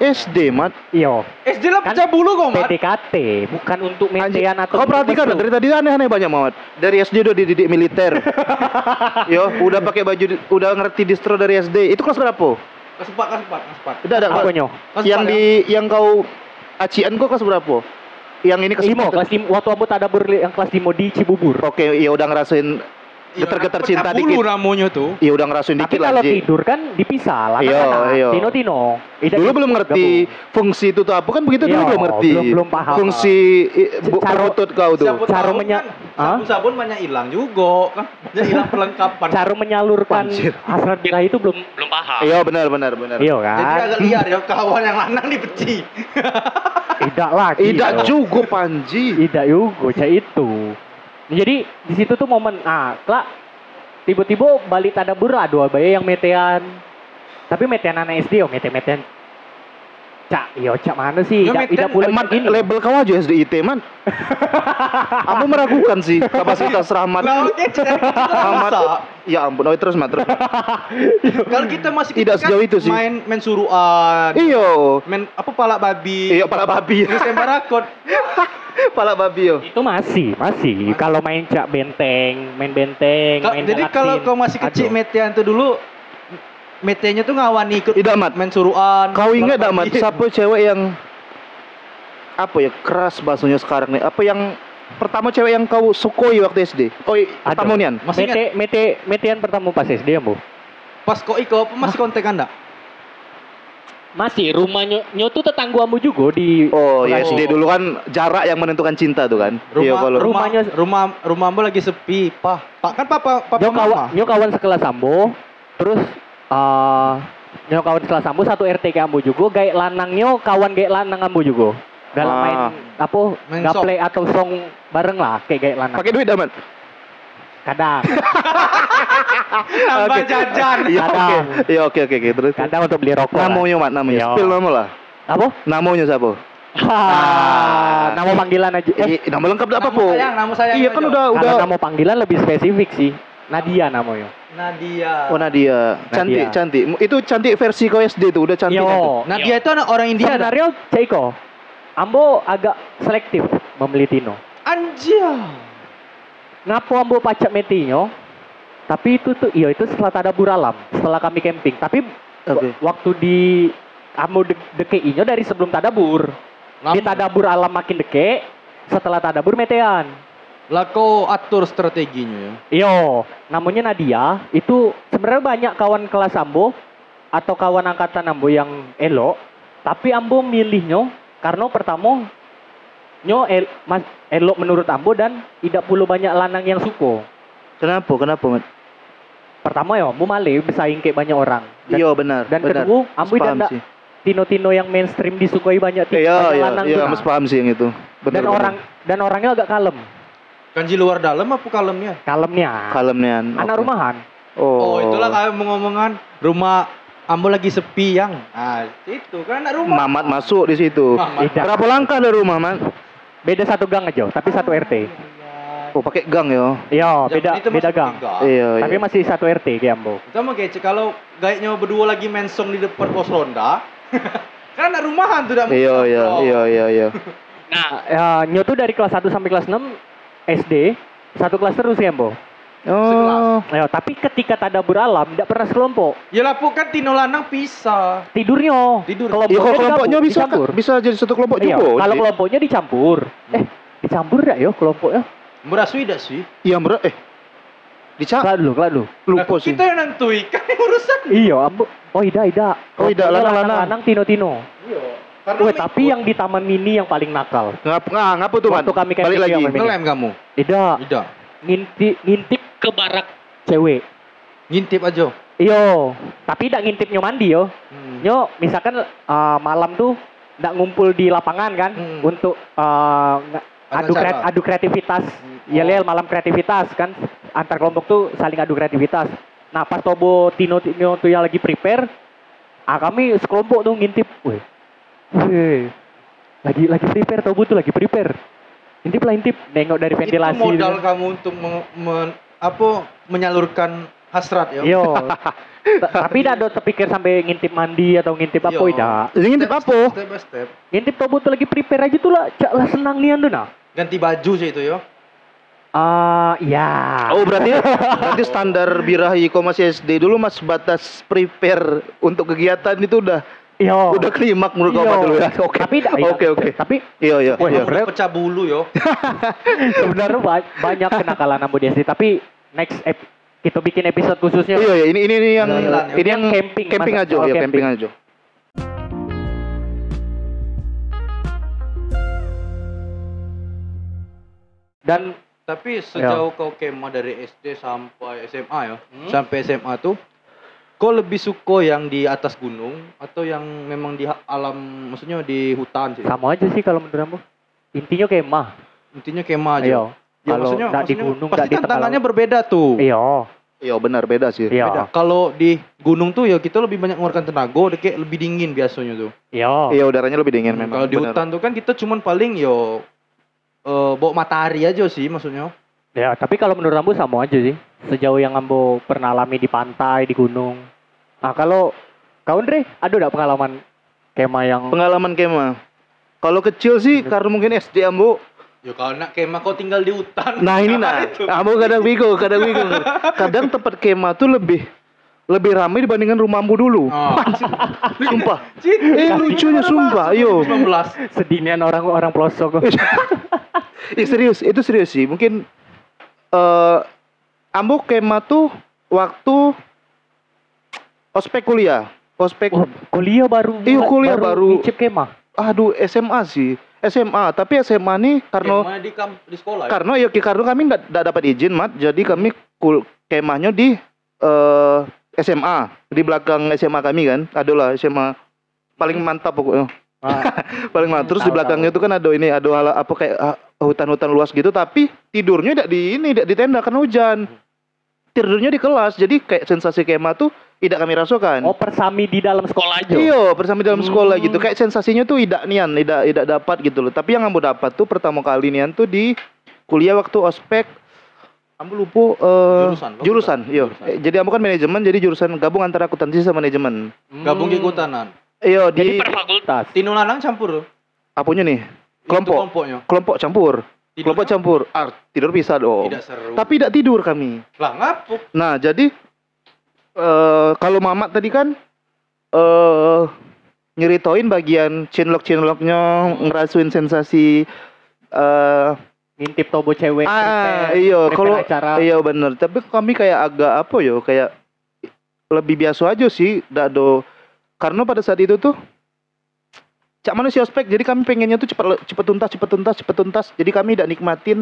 S3: SD mat
S1: iyo
S2: SD lah
S1: Kan
S2: pecah bulu kok, Mat.
S1: PDKT bukan untuk mentean atau
S3: kau kan, perhatikan dah, dari tadi aneh-aneh banyak banget dari SD udah dididik militer yo udah pakai baju di- udah ngerti distro dari SD itu kelas berapa
S2: Kesepat, kesepat, kesepat.
S3: udah ada
S1: apa nyo
S2: Kelas
S3: yang
S2: empat,
S3: di
S1: ya?
S3: yang kau acian kok kelas berapa yang ini kelas kan?
S1: limo
S3: empat.
S1: Iya, kelas limo waktu ambo tadabur li- yang kelas limo di Cibubur
S3: oke ya udah ngerasain
S1: Iya,
S2: kan
S3: getar-getar
S2: Pecah
S3: cinta
S2: bulu
S3: dikit
S2: ramunya tuh.
S3: ya udah ngerasain
S1: tapi
S3: dikit
S1: kalau
S3: lah Ji.
S1: tidur kan dipisah lah
S3: Iyo, iyo.
S1: tino tino
S3: dulu belum ngerti fungsi itu tuh apa kan begitu dulu
S1: Iya,
S3: belum ngerti
S1: belum- belum paham.
S3: fungsi i-
S1: Ca-
S3: bu-
S1: cara-
S3: perutut kau tuh
S2: Siapa
S1: Cara
S2: tahu
S1: menya- Hah?
S2: kan, sabun-sabun banyak hilang juga kan. Banyak hilang perlengkapan.
S1: cara menyalurkan
S3: Anjir.
S1: hasrat birahi itu belum belum paham
S3: iya benar benar benar
S1: iyo
S2: Jadi
S1: kan
S2: agak liar ya kawan yang lanang dibenci.
S1: tidak lagi
S3: tidak
S1: iyo.
S3: juga Panji
S1: Tidak Yugo, cah itu. Jadi di situ tuh momen ah, kelak tiba-tiba balik tadabur aduh bayi yang metean. Tapi metean anak SD yo, mete-metean. Cak, yo cak mana sih?
S2: Yo,
S1: Tidak
S2: metean
S1: tidak boleh
S3: Eman,
S1: kayak gini.
S3: label kau aja SDIT man aku meragukan sih kapasitas Rahmat
S2: Nah, oke, cara kita
S3: Rahmat
S2: masa.
S3: ya ampun oh, terus mat terus
S2: Kalau kita masih
S3: Tidak
S2: kecil
S3: sejauh itu sih. Iya.
S2: Main main suruhan,
S3: iyo
S2: main apa pala babi,
S3: iyo pala babi
S2: terus lempar akun.
S3: pala babi yo
S1: Itu masih, masih. Kalau main cak benteng, main benteng,
S2: Ka-
S1: main
S2: Jadi
S1: galaxin.
S2: kalau kau masih kecil
S1: Aduh.
S2: metean tuh dulu metenya tuh ngawani ikut
S3: Tidak, Mat.
S2: main Iya. suruhan.
S3: Kau ingat
S2: Pala
S3: dah Mat,
S2: babi.
S3: siapa cewek yang apa ya keras bahasanya sekarang nih? Apa yang pertama cewek yang kau sukoi waktu SD? Oh, i- pertama nian.
S2: Masih
S1: mete, mete, metean pertama pas SD ya, Bu.
S2: Pas kau ikut apa masih kontak anda?
S1: Masih rumahnya nyo tuh tetangguamu juga di
S2: Oh.
S3: Oh, ya SD dulu kan jarak yang menentukan cinta tuh kan. Iya,
S2: Rumah,
S3: kalau
S2: rumah,
S1: Rumahnya-
S2: rumah, rumah Ambo lagi sepi, pah. Pak kan papa, papa
S1: Nyo kawan,
S2: mama.
S1: nyo kawan sekelas Ambo, terus eh nyo kawan sekelas Ambo satu RT ke Ambo juga, gaek lanang nyo kawan gaek lanang Ambo juga. Galak
S3: Ah.
S1: main apa?
S2: Main
S1: Gaple atau song bareng lah kayak gaek lanang.
S3: pakai duit dah Mat.
S1: Kadang,
S2: Tambah
S3: Oke.
S2: jajan.
S3: Iya,
S1: Kadang.
S3: oke. Iya, oke oke oke, terus.
S1: kadang untuk beli rokok. lah.
S3: Namanya Mat, namanya.
S1: Iya.
S3: Spill nama lah.
S1: Apa?
S3: Namanya siapa?
S1: Ah, nama panggilan aja. Eh,
S3: Eh, nama lengkap dah apa,
S2: Iya. Nama
S3: Po?
S2: sayang, nama sayang.
S3: Iya, kan
S2: aja.
S3: udah udah.
S1: kalau nama panggilan lebih spesifik sih. Nadia namanya.
S2: Nadia. Iya.
S3: Oh, Nadia. Cantik,
S1: Nadia.
S3: cantik. Itu cantik versi kau SD tuh, udah cantik. cantik.
S1: Yo,
S2: Nadia itu anak orang India. dah.
S1: sebenarnya Ceko. Ambo agak selektif membeli Tino.
S2: Anjir.
S1: ngapo ambo pacak metinyo tapi itu tuh iya itu setelah tadabur alam setelah kami camping tapi
S3: Oke.
S1: wa- waktu di ambo de DKI nya dari sebelum tadabur di tadabur alam makin deke setelah tadabur metean
S2: Lah kau atur strateginya ya.
S1: iyo namanya Iya. Nadia itu sebenarnya banyak kawan kelas ambo atau kawan angkatan ambo yang elok tapi ambo milihnya karena pertama nyo el, mas, elok menurut ambo dan tidak perlu banyak lanang yang suko
S3: Kenapa? Kenapa, Mat?
S1: pertama ya mau male bersaing kayak banyak orang dan,
S3: Iya, benar.
S1: dan
S3: benar.
S1: kedua ambu
S3: Sepaham
S1: dan
S3: sih.
S1: tino-tino yang mainstream disukoi banyak tino
S3: Iya,
S1: banyak
S3: iya,
S1: lanang
S3: iya,
S1: tuh, nah.
S3: mas paham sih yang itu.
S1: dan
S3: Bener, bener.
S1: orang dan orangnya agak kalem
S2: Kanji Kan luar dalam apa kalemnya?
S1: kalemnya
S3: kalemnya.
S1: anak
S3: oke.
S1: rumahan
S2: Oh,
S3: Oh,
S2: itulah kami mengomongan rumah Ambo lagi sepi yang. Ah, itu kan anak rumah. Ya.
S3: Mamat masuk di situ.
S2: Mamat.
S1: Tidak.
S3: Berapa langkah dari rumah, Mat?
S1: beda satu gang aja tapi satu RT
S3: Oh, pakai gang ya.
S1: iya
S2: Zaman
S1: beda
S2: Iya. itu masih
S1: beda gang
S2: bertiga.
S3: Iya,
S1: tapi
S3: iya.
S1: masih satu RT kayak ambo
S2: Sama kayak cek, kalau gaiknya berdua lagi mensong di depan pos ronda. kan anak rumahan tuh Oh. tidak mungkin
S3: Iya, iya,
S2: nongkrong.
S3: iya, iya, iya.
S1: nah nyo tuh dari kelas 1 sampai kelas 6 SD satu kelas terus ya ambo
S3: Oh.
S1: Ayo, tapi ketika tadabur alam tidak pernah sekelompok
S2: Yalah pun kan Tino Lanang pisah.
S1: tidurnya
S2: Tidur.
S3: Iya, kalau kelompoknya
S1: digabung,
S3: bisa
S1: dicampur.
S3: bisa jadi satu kelompok
S1: Iya,
S3: juga. Hmm.
S1: kalau
S3: sih.
S1: kelompoknya dicampur. Eh, dicampur ya yo kelompoknya?
S2: Merasui tidak sih?
S3: Iya, bro. Eh. Dicak
S1: Kelar dulu, kelar dulu.
S3: lupa
S2: Nah,
S3: sih.
S2: Kita yang nantui kan yang urusan.
S1: Iya, ambo. Oh, ida, ida.
S3: Oh, ida,
S1: Kelompoknya
S3: lanang,
S1: lanang, Tino, Tino.
S2: Iya. Karena
S1: Weh,
S2: mau
S1: tapi yang di taman mini yang paling nakal.
S3: Ngap ngap ngapa tuh, Mat?
S1: Waktu kami kayak
S3: Balik
S1: gitu
S3: lagi.
S1: yang main- Ah.
S2: ngelem kamu.
S1: Ida,
S2: Tidak.
S1: ngintip, ngintip ke barak cewek.
S2: ngintip aja
S1: Iyo, Iya. tapi ndak ngintip nyo mandi yo.
S2: hmm.
S1: Nyo misalkan eh, malam tuh ndak ngumpul di lapangan kan
S2: Hmm.
S1: untuk eh, nge- adu
S2: Acara.
S1: kreat- adu kreativitas.
S2: Hmm.
S1: Iya Lel, malam kreativitas kan antar kelompok tuh saling adu kreativitas. Nah pas Tobo Tino Tino tuh yang lagi prepare, ah kami sekelompok tuh ngintip, weh, weh, lagi lagi prepare Tobo tuh lagi prepare. Intip lah intip, nengok dari ventilasi.
S2: itu modal
S1: gitu.
S2: kamu untuk men, men- apa menyalurkan hasrat ya
S1: Yo, Ta- tapi tidak ada terpikir sampai ngintip mandi atau ngintip apa
S2: Yo.
S1: tidak.
S3: Jadi ngintip
S2: Step-
S3: apa?
S2: step by step
S1: Ngintip Tobo tuh lagi prepare aja tuh lah, cak lah senang nian tuh nah.
S2: ganti baju sih itu ya
S1: Ah, iya.
S3: Oh berarti berarti standar birah masih SD dulu mas batas prepare untuk kegiatan itu udah
S1: Yo.
S3: udah klimak menurut kamu
S1: Yo.
S3: dulu ya. Oke.
S1: Tapi ndak-
S3: Oke oke.
S1: Tapi
S3: Iya
S1: Iya.
S3: iya.
S1: Wah, ya,
S3: iya.
S2: Kamu udah pecah bulu yo
S1: sebenarnya ba- banyak kenakalan Ambo di SD tapi next ep- kita bikin episode khususnya
S3: Iya iya ini ini, ini yang
S2: Jalan-jalan, ya.
S3: ini yang
S1: Yang camping,
S3: camping
S1: Mas.
S3: aja
S1: Oh,
S3: ya
S1: camping.
S3: camping aja.
S1: dan Ya.
S2: Tapi sejauh kau kema dari SD sampai SMA ya,
S1: Hmm?
S2: sampai SMA tuh, kau lebih suka yang di atas gunung atau yang memang di ha- alam, maksudnya di hutan sih?
S1: sama aja sih kalau menurut Ambo intinya kayak mah
S2: Intinya kema aja. Ya,
S1: iya kalau nggak di gunung nggak
S2: pasti
S3: kan
S1: di tengah
S2: tantangannya berbeda tuh.
S1: iya
S3: Iya benar beda sih.
S1: iya
S2: Beda. Kalau di gunung tuh ya kita lebih banyak mengeluarkan tenaga, dia kayak lebih dingin biasanya tuh.
S1: iya
S3: Iya udaranya lebih dingin memang.
S2: Kalau di
S3: benar.
S2: hutan tuh kan kita cuman paling yo eh bawa matahari aja sih maksudnya.
S1: ya tapi kalau menurut Ambo sama aja sih sejauh yang Ambo pernah alami di pantai di gunung nah kalau kau Andre ada nggak pengalaman kema yang
S3: Pengalaman kema. Kalau kecil sih karena mungkin SD ambo.
S2: Ya kalau nak kema kau tinggal di hutan.
S3: Nah ini nah,
S2: Itu.
S3: ambo kadang bingung, kadang bingung. Kadang tempat kema tuh lebih lebih ramai dibandingkan rumah ambo dulu.
S2: Oh.
S3: Sumpah.
S2: Cik,
S3: Eh lucunya sumpah, Iya. yo.
S2: 19.
S1: sedihnya orang-orang pelosok
S3: Ih, Eh, serius, itu serius sih. Mungkin eh ambo kema tuh waktu ospek kuliah, ospek
S1: Wah, kuliah baru
S3: Iya, kuliah baru.
S1: ngicip kema
S3: aduh SMA sih. SMA, tapi SMA nih karena
S2: Kemahnya di kamp di sekolah. ya?
S3: Karena ya ki- karena kami nggak nggak dapat izin mat, jadi kami kul kemahnya di eh, SMA di belakang SMA kami kan, adalah SMA paling mantap pokoknya,
S1: Ah,
S3: paling mantap. Terus di
S1: Tahu,
S3: belakangnya itu kan ada ini, ada hala- apa kayak ah, hutan-hutan luas gitu, tapi tidurnya tidak di ini, tidak di tenda karena hujan. Tidurnya di kelas, jadi kayak sensasi kemah tuh tidak kami rasakan.
S1: oh persami di dalam sekolah aja
S3: Iya, bersama dalam sekolah
S2: Hmm.
S3: gitu. Kayak sensasinya tuh tidak nian, tidak tidak dapat gitu loh. Tapi yang ambo dapat tuh pertama kali nian tuh di kuliah waktu ospek. Ambo lupa eh,
S2: Jurusan,
S1: oh,
S2: lo
S3: jurusan.
S2: bukan?
S3: Iya.
S2: Jurusan.
S3: Eh, Jadi ambo kan manajemen, jadi jurusan gabung antara akuntansi sama manajemen.
S1: Hmm.
S2: Gabung di kehutanan.
S3: Iya,
S1: jadi
S3: di
S1: per fakultas
S2: Tino lanang campur.
S3: apunya nih?
S2: Itu
S3: Kelompok.
S2: kelompoknya.
S3: Kelompok campur.
S2: Tidurnya
S3: Kelompok campur. Ah, tidur bisa dong.
S2: Tidak seru.
S3: Tapi tidak tidur kami.
S2: lah ngapu.
S3: Nah, jadi eh kalau Mamat tadi kan eh nyeritain bagian cinlok-cinloknya, ngerasuin sensasi eh
S1: ngintip tobo cewek
S3: ah
S1: prepare-
S3: iya
S1: prepare
S3: kalau
S1: acara
S3: iya bener tapi kami kayak agak apa yo kayak lebih biasa aja sih dado karena pada saat itu tuh cak manusia ospek jadi kami pengennya tuh cepat cepat tuntas cepat tuntas cepat tuntas jadi kami tidak nikmatin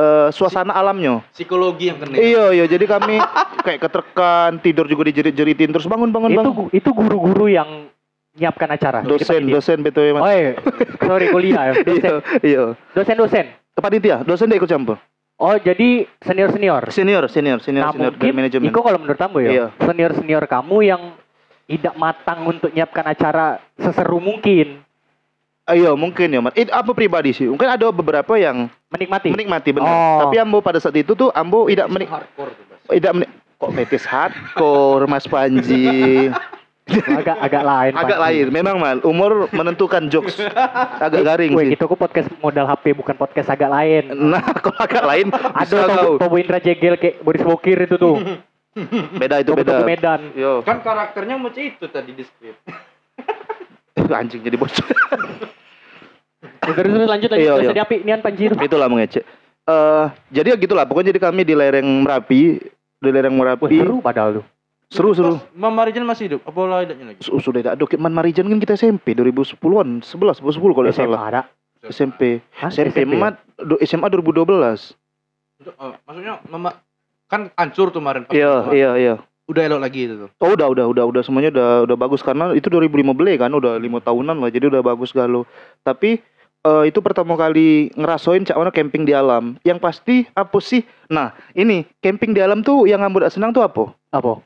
S3: eh, suasana alamnya
S2: Psikologi yang kena.
S3: Iya, iya. Jadi kami kayak keterkan, tidur juga dijerit-jeritin, terus bangun, bangun,
S1: itu
S3: bangun.
S1: gu- itu guru-guru yang nyiapkan acara
S3: Dosen, dosen betul
S1: oh
S3: mas.
S1: iya. sorry kuliah ya. dosen
S3: Iya, iya.
S1: dosen dosen
S3: Panitia, dosen dia ikut campur.
S1: oh jadi senior senior
S3: Senior, senior, senior,
S1: nah
S3: senior dari
S1: mungkin
S3: manajemen.
S1: Iko kalau menurut kamu ya
S3: Iya.
S1: senior senior kamu yang tidak matang untuk nyiapkan acara seseru mungkin
S3: Ayo, mungkin ya, Mas. Itu apa pribadi sih? Mungkin ada beberapa yang
S1: menikmati
S3: menikmati benar.
S1: Oh.
S3: Tapi Ambo pada saat itu tuh Ambo tidak menik
S2: Hardcore tuh, Bas.
S3: tidak menik kok metis hardcore Mas Panji.
S1: agak agak lain
S3: Agak lain, memang mal. Umur menentukan jokes. Agak garing
S1: Wih,
S3: sih.
S1: gitu aku podcast modal HP bukan podcast agak lain
S3: Nah, kalau agak lain, bisa
S1: ada
S3: kau.
S1: Tobo, Tobo Indra Jegel kayak Boris Bokir itu tuh
S3: Beda itu
S1: Tobo-tobo
S3: beda.
S1: Medan
S3: Yo.
S2: Kan karakternya macam itu tadi di skrip.
S3: Eh, anjing jadi bocor.
S1: terus terus lanjut lanjut
S3: Iya,
S1: terus
S3: iya.
S1: jadi api nian panjir
S3: Itulah mengecek. Eh, jadi ya gitulah. Pokoknya jadi kami di lereng Merapi, di lereng
S1: Wah,
S3: Merapi.
S1: seru padahal tuh
S3: Seru,
S2: Terus
S3: seru.
S2: Mama Marijan masih hidup. Apa lah hidupnya lagi?
S3: Su- Sudah ada dokumen Marijan kan kita SMP 2010-an, 11, 10 kalau tidak
S1: SMA
S3: salah.
S1: ada
S3: SMP.
S1: Hah,
S3: SMP
S1: ya?
S3: mat du- SMA 2012.
S2: Eh, maksudnya Mama kan hancur tuh kemarin.
S3: Iya, iya, iya.
S2: udah elok lagi itu tuh.
S3: Oh udah udah udah udah semuanya udah udah bagus karena itu 2015 kan udah lima tahunan lah jadi udah bagus galau. Tapi eh, itu pertama kali ngerasain cak mana camping di alam. Yang pasti apa sih? Nah ini camping di alam tuh yang ngambil senang tuh apa?
S1: Apa?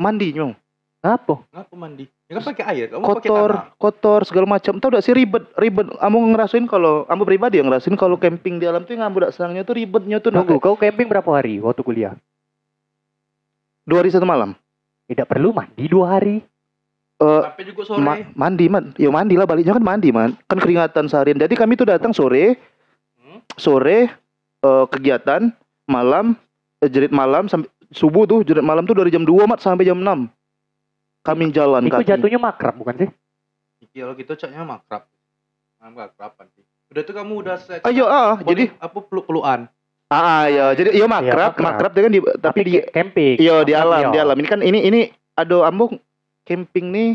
S3: Mandi nyong.
S1: Apa?
S2: Ngapa mandi? Ya kan pakai air, kamu pakai tanah.
S3: Kotor, kotor segala macam. Tau gak sih ribet, ribet. Kamu ngerasain kalau, kamu pribadi yang ngerasain kalau camping di alam tuh yang ngambil senangnya tuh ribetnya tuh.
S1: Tunggu,
S3: Nunggu.
S1: kau camping berapa hari waktu kuliah?
S3: Dua hari satu malam.
S1: Tidak perlu mandi dua hari.
S2: Sampai juga sore.
S3: Eh, Ma- mandi man, yo mandi lah baliknya kan mandi man, kan keringatan seharian. Jadi kami tuh datang sore,
S2: Hmm.
S3: sore eh, kegiatan malam eh, jerit malam sampai subuh tuh jerit malam tuh dari jam 2 mat sampai jam 6 kami jalan
S1: Itu
S3: kaki.
S1: jatuhnya makrab bukan sih?
S2: Kalau gitu caknya makrab. Malam makraban sih. Udah tuh kamu udah set.
S3: Ayo ah
S2: Boleh
S3: jadi
S2: apa peluk-pelukan?
S3: ah ah, ya jadi yo makrab
S1: Iya, makrab.
S3: makrab dia kan di, tapi, di
S1: ca- camping.
S3: yo
S1: Makrab,
S3: di
S1: iya.
S3: alam
S1: yo.
S3: di alam ini kan ini ini ada ambung camping nih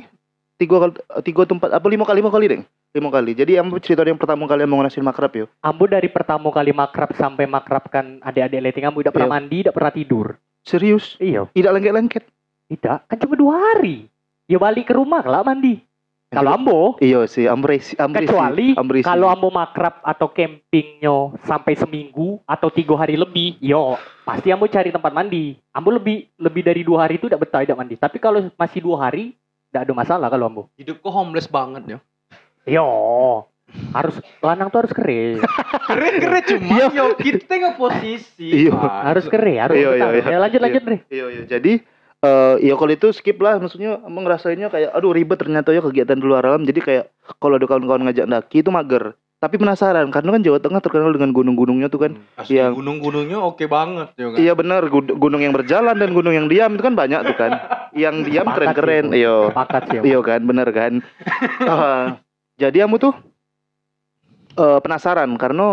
S3: tiga kali- tiga tempat apa lima kali lima kali deng lima kali jadi ambung cerita yang pertama kali ambung ngerasain makrab yo
S1: Ambo dari pertama kali makrab sampai makrab kan adik-adik leting Ambo tidak pernah
S3: Iya.
S1: mandi, tidak pernah tidur.
S3: serius
S1: Iya,
S3: tidak lengket-lengket
S1: tidak. Kan cuma dua hari. Ya balik ke rumah lah mandi. Kalau Ambo,
S3: Iya sih, ambresi, ambresi.
S1: kecuali
S3: ambresi.
S1: kalau Ambo makrab atau campingnya sampai seminggu atau tiga hari lebih, yo pasti Ambo cari tempat mandi. Ambo lebih lebih dari dua hari itu tidak betah tidak mandi. Tapi kalau masih dua hari, tidak ada masalah kalau Ambo.
S2: Hidup kok homeless banget ya.
S1: Yo, harus lanang tuh harus kering,
S2: Keren-keren cuma yo kita kan. tengok posisi.
S3: Iya.
S2: Pak.
S1: harus kering, harus.
S3: Iya, iya,
S1: betah.
S3: iya.
S1: Ya, lanjut lanjut deh.
S3: Iya, iya. Jadi eh ya kalau itu skip lah maksudnya emang ngerasainnya kayak aduh ribet ternyata ya kegiatan di luar alam jadi kayak kalau ada kawan-kawan ngajak daki itu mager tapi penasaran karena kan Jawa Tengah terkenal dengan gunung-gunungnya tuh kan
S2: Asli
S3: Yang-
S2: Hmm, gunung-gunungnya oke banget ya kan.
S3: iya benar gu- gunung yang berjalan dan gunung yang diam itu kan banyak tuh kan yang diam
S1: Sepakat
S3: keren-keren
S1: sih,
S3: iya
S1: Sepakat sih. Ambo.
S3: iya kan benar kan Eh, jadi kamu tuh eh, penasaran karena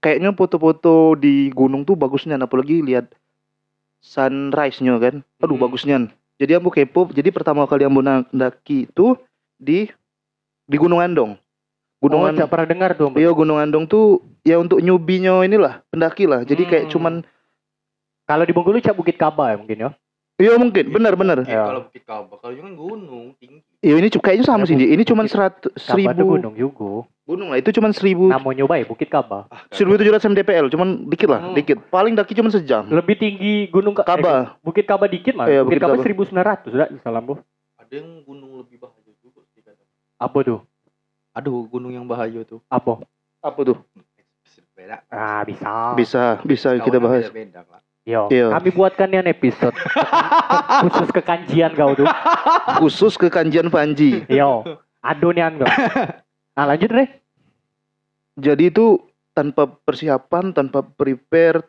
S3: kayaknya foto-foto di gunung tuh bagusnya apalagi lihat sunrise-nya kan aduh
S2: Hmm.
S3: bagusnya jadi ambo kepo jadi pertama kali ambo daki itu di di Gunung Andong Gunung
S1: Oh,
S3: Andong
S1: nggak pernah dengar tuh. Ambo.
S3: iya Gunung Andong tuh ya untuk nyubinya inilah pendaki lah jadi kayak
S2: Hmm.
S3: cuman
S1: Kalau di Bengkulu cak Bukit Kaba ya mungkin ya.
S3: iya mungkin benar-benar
S2: Iya,
S1: Iya.
S2: Kalau Bukit Kaba, kalau ini kan gunung tinggi.
S3: iya ini cu- kayaknya
S1: Ya,
S3: sama sih Ji. ini cuman
S1: Bukit
S3: seratus
S1: Kaba itu
S3: seribu
S1: gunung juga. Nah,
S3: gunung lah itu cuman seribu
S1: Namanya baik ya, Bukit Kaba.
S2: Ah, kagak.
S3: 1700 mdpl cuman dikit lah
S2: Hmm.
S3: dikit paling daki cuman sejam
S1: Lebih tinggi gunung Ka- eh,
S3: kaba
S1: Bukit Kaba dikit mah.
S3: Iya,
S1: Bukit,
S3: Bukit
S1: Kaba
S3: Kaba.
S1: 1900 udah salam bu.
S2: Ada yang gunung lebih bahaya juga sih kadang.
S1: Apa tuh?
S2: Aduh, gunung yang bahaya tuh.
S1: Apa?
S3: apa tuh
S2: Beda.
S1: Ah bisa.
S3: bisa bisa
S2: Kawan
S3: kita bahas
S2: Beda, lah.
S1: Yo.
S3: Iya.
S1: Kami buatkan yang episode khusus kekanjian kau tuh.
S3: khusus ke kanjian Panji
S1: Yo. Adonian kau. Nah lanjut deh.
S3: jadi itu tanpa persiapan tanpa prepare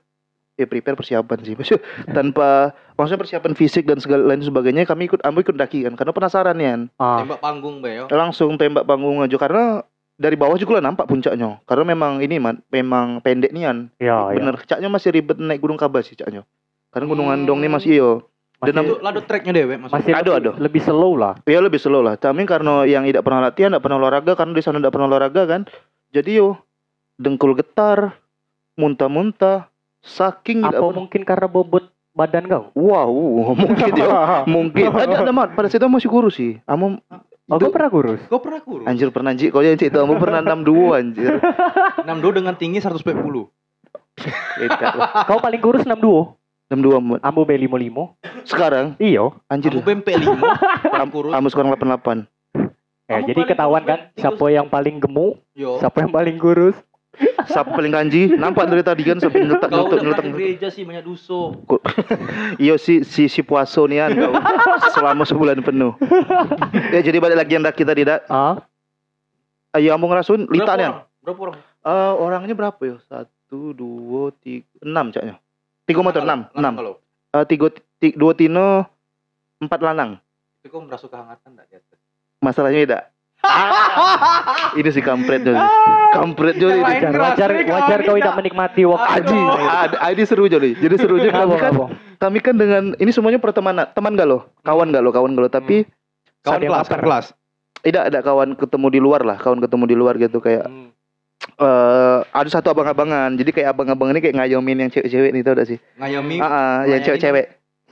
S3: ya prepare persiapan sih maksud tanpa maksudnya persiapan fisik dan segala lain sebagainya kami ikut ambo ikut daki kan karena penasaran ya
S1: Ah,
S2: Tembak panggung, Bayo.
S3: langsung tembak panggung aja karena dari bawah juga lah nampak puncaknya karena memang ini man, memang pendek nian
S1: yo, yo.
S3: bener caknya masih ribet naik gunung kabah sih caknya karena gunung
S2: Hmm.
S3: andong ini masih iya. iyo
S1: Masih,
S2: Itu lado tracknya dewe maksudnya.
S1: masih
S3: Aduh,
S1: lebih,
S3: aduh.
S1: lebih slow lah.
S3: Ya lebih slow lah. Tapi karena yang tidak pernah latihan, tidak pernah olahraga, karena di sana tidak pernah olahraga kan. Jadi yo dengkul getar, muntah-muntah, saking
S1: Apa
S3: tidak pernah-
S1: mungkin karena bobot badan kau?
S3: Wow, mungkin iya. yo, mungkin. Ada ada mat. Pada situ masih kurus sih. Amu
S1: Oh, kau
S3: itu-
S1: pernah kurus?
S2: Kau pernah kurus?
S3: anjir pernah anjir. Kau yang cerita kamu pernah 62 anjir.
S2: 62 dengan tinggi 140.
S3: Beda lah.
S1: Kau paling kurus 62.
S3: 62 Mat.
S1: Ambo beli limo limo.
S3: Sekarang
S1: Iyo.
S3: anjir.
S2: Kamu BMP 5, paling kurus.
S3: Kamu sekarang
S1: Ya,
S3: 88.
S2: Kamu
S1: jadi
S2: paling
S1: ketahuan
S2: kurus,
S1: kan
S2: paling
S1: siapa yang paling gemuk,
S3: Oh.
S2: Yo.
S1: siapa yang paling kurus.
S3: Siapa paling kanji? Nampak dari tadi kan sampai nyeletak
S2: Kau
S3: nyeletak
S2: udah
S3: nyeletak.
S2: pernah gereja sih banyak dosa.
S3: Iya si si si puaso nian kau selama sebulan penuh. ya jadi balik lagi yang dak kita tidak
S1: Ah,
S3: Ayo ambung
S2: Berapa
S3: ngerasun iya, Lita nih.
S2: orang? Berapa orang?
S3: Eh, orangnya berapa ya? Satu, dua, tiga, enam caknya. Tiga motor, enam, enam.
S2: Kalau
S3: Eh, tiga, ti- dua tino, empat lanang.
S2: itu kau merasa kehangatan enggak di atas?
S3: Masalahnya tidak. ini si kampret Jol.
S2: Ah!
S3: Kampret Jol ini.
S1: wajar,
S2: Yang lain keras
S1: wajar,
S2: nih, kalau
S1: wajar kau
S2: tidak.
S1: tidak menikmati waktu.
S3: Aji, ad- ini seru Jol. Jadi seru Jol. Kami
S1: Apa,
S3: kan,
S1: apa?
S3: kami kan dengan ini semuanya pertemanan, teman gak lo? Kawan gak lo? Kawan gak lo? Tapi
S2: Kawan
S1: Ada yang
S2: kelas,
S1: lapar.
S2: kawan kelas.
S3: Eh. tidak ada kawan ketemu di luar lah, kawan ketemu di luar gitu kayak
S2: Hmm.
S3: eh ada satu abang-abangan. Jadi kayak abang-abang ini kayak ngayomin yang cewek-cewek nih tau gak sih?
S2: Ngayomi.
S3: Ah, ah,
S2: Ngayomin.
S3: yang cewek-cewek.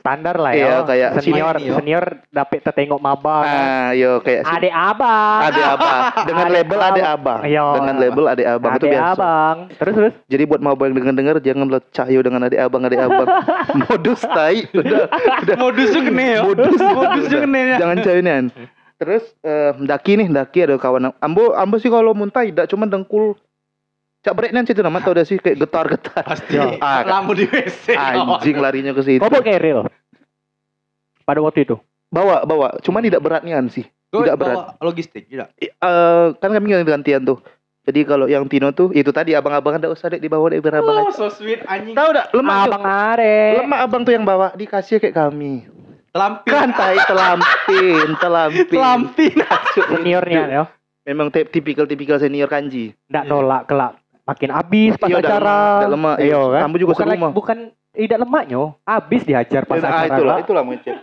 S1: standar lah
S3: Iya,
S1: ya.
S3: kayak
S1: senior
S2: sini, yo.
S1: senior dapet tetengok maba. kan.
S3: Ah, yo kayak si-
S1: Adek abang.
S3: Ade abang dengan
S1: Ah. Ade
S3: label ade abang
S1: Iya.
S3: dengan label ade abang itu
S1: Adek
S3: biasa
S1: abang. Terus terus.
S3: jadi buat mau yang dengar dengar jangan lo cahayu dengan ade abang ade abang modus tai udah udah
S2: Modus juga kena ya.
S3: modus
S2: Modus juga kena ya.
S3: jangan cahayuan terus eh, daki nih daki ada kawan ambo ambo sih kalau muntah tidak cuma dengkul cak brek nanti itu nama tau udah sih kayak getar getar
S2: Pasti
S3: Yo, ah,
S2: lamu di WC. kawan.
S3: anjing larinya ke situ
S1: Kobok Eril. Pada waktu itu.
S3: bawa bawa cuman tidak beratnya sih
S2: Kau
S3: tidak
S2: bawa Logistik tidak.
S3: I- eh, kan kami gantian tuh jadi kalau yang Tino tuh itu tadi abang-abang ada usah dek dibawa dek biar
S2: Oh,
S3: abang aja.
S2: so sweet anjing.
S3: Tahu enggak lemah tuh.
S1: Abang Are.
S3: Lemak abang tuh yang bawa dikasih kayak kami.
S2: Lampin.
S3: Kan tai telampin, telampin.
S2: Lampin.
S3: Kacuk
S1: Seniornya
S3: itu.
S1: ya.
S3: Memang tip- tipikal-tipikal senior kanji.
S1: Ndak nolak kelak. Makin habis pas
S3: Iya, ndak
S1: acara.
S3: lemak, ndak lemak. Iya,
S1: Iya kan.
S3: kamu juga
S1: bukan,
S3: seru,
S1: lagi-
S3: mah.
S1: bukan tidak lemaknya. Habis dihajar pas
S3: Dan- ah,
S1: acara.
S3: itulah,
S1: lah.
S3: itulah mungkin.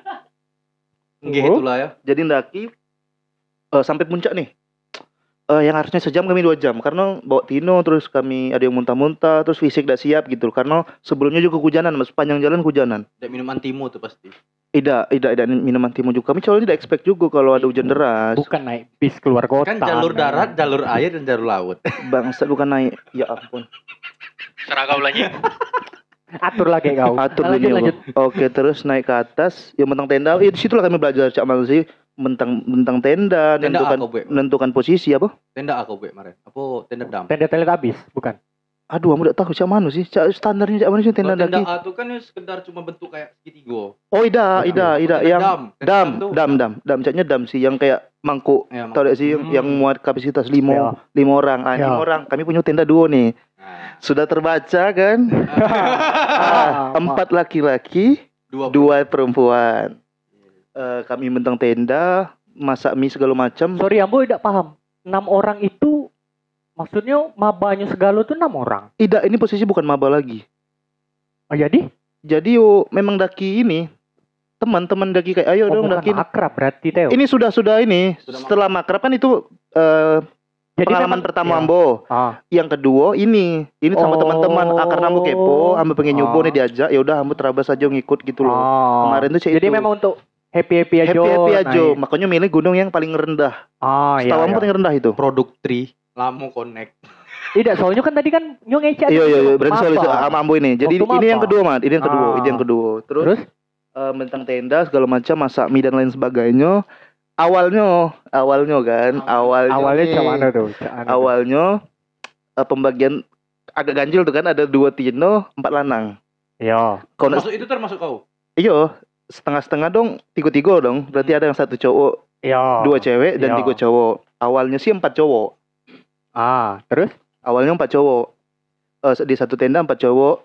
S2: Nggih
S3: Oh.
S2: itulah ya.
S3: Jadi ndaki eh, sampai puncak nih. Eh, yang harusnya sejam kami dua jam karena bawa Tino terus kami ada yang muntah-muntah terus fisik tidak siap gitu karena sebelumnya juga hujanan mas sepanjang jalan hujanan
S2: Tidak minuman timo tuh pasti.
S3: tidak tidak tidak minuman timun juga kami soalnya tidak expect juga kalau ada hujan deras
S1: Bukan naik bis keluar
S3: Oh,
S1: kota.
S2: Kan jalur darat, jalur air dan jalur laut.
S3: bangsa bukan naik ya ampun
S4: Seragam lagi.
S1: Atur lagi kau.
S3: atur
S1: Lanjut,
S3: dunia
S1: lanjut.
S3: gua. Oke terus naik ke atas yang mentang tenda. Ya disitulah kami belajar cak Mal sih mentang mentang tenda,
S2: Tenda
S3: menentukan
S2: aku buat.
S3: menentukan posisi apa?
S2: Tenda aku buat kemarin. Apa tenda dam?
S1: Tenda tenda habis, bukan.
S3: Aduh, kamu udah tahu cak mana sih? Cak standarnya cak mana sih tenda
S2: Kalau
S3: daki?
S2: A tuh kan ya sekedar cuma bentuk kayak segitiga.
S3: Oh ida ida ida
S2: Tenda
S3: yang
S2: Tenda
S3: dam
S2: tuh-
S3: dam dam dam caknya dam sih yang kayak mangkuk
S2: Ya, mak-
S3: tau gak sih yang,
S2: Hmm.
S3: yang muat kapasitas lima
S1: Ya.
S3: lima orang ah,
S1: Ya.
S3: lima orang kami punya tenda dua nih
S2: Nah.
S3: sudah terbaca kan
S1: Ah,
S3: ah, empat laki-laki
S2: Dua,
S3: dua perempuan Eh, kami mentang tenda masak mie segala macam
S1: Sorry Ambo tidak paham. Enam orang itu maksudnya mabanya segalo tuh enam orang.
S3: Tidak, ini posisi bukan maba lagi.
S1: Oh jadi?
S3: Jadi yo memang daki ini teman-teman daki kayak ayo
S1: Oh,
S3: dong
S1: bukan ya?
S3: daki.
S1: akrab berarti Teo.
S3: Ini sudah sudah ini
S2: Sudah makrab.
S3: setelah makrab kan itu eh,
S1: Jadi memang-
S3: pengalaman pertama
S1: iya.
S3: Ambo.
S1: Ah,
S3: Yang kedua ini ini sama
S1: Oh.
S3: teman-teman ah, karena Ambo kepo, Ambo pengen nyoba
S1: Ah.
S3: nih diajak. Ya udah Ambo terabas aja ngikut gitu loh.
S1: ah.
S3: Kemarin tuh cek
S1: Jadi
S3: itu.
S1: memang untuk happy happy aja.
S3: happy happy aja.
S1: naik.
S3: Makanya milih gunung yang paling rendah.
S1: Ah iya.
S3: Setahu Ambo
S1: iya.
S3: paling rendah itu.
S2: produk tri lamu connect
S1: Tidak, soalnya kan tadi kan nyong ngecek.
S3: Iya iya iya, berarti
S1: Maaf,
S3: soal
S1: Pak.
S3: sama Ambo ini. Jadi
S1: Waktu
S3: ini yang
S1: maba.
S3: kedua, Mat. Ini yang kedua,
S1: Ah.
S3: ini yang kedua. Terus
S1: Terus?
S3: eh mentang tenda segala macam masak mie dan lain sebagainya awalnya awalnya kan awalnya
S1: Ah. Awalnya
S3: nih,
S1: cak mana tuh? Cak mana tuh?
S3: awalnya eh, pembagian agak ganjil tuh kan ada dua tino empat lanang
S1: Iya.
S3: Kau nak-
S2: masuk itu termasuk kau
S3: iyo setengah setengah dong tiga tiga dong berarti ada yang satu cowok
S1: Iya.
S3: dua cewek
S1: Hmm.
S3: dan
S1: iya.
S3: tiga cowok awalnya sih empat cowok
S1: Ah, terus?
S3: awalnya empat cowok Eh, di satu tenda empat cowok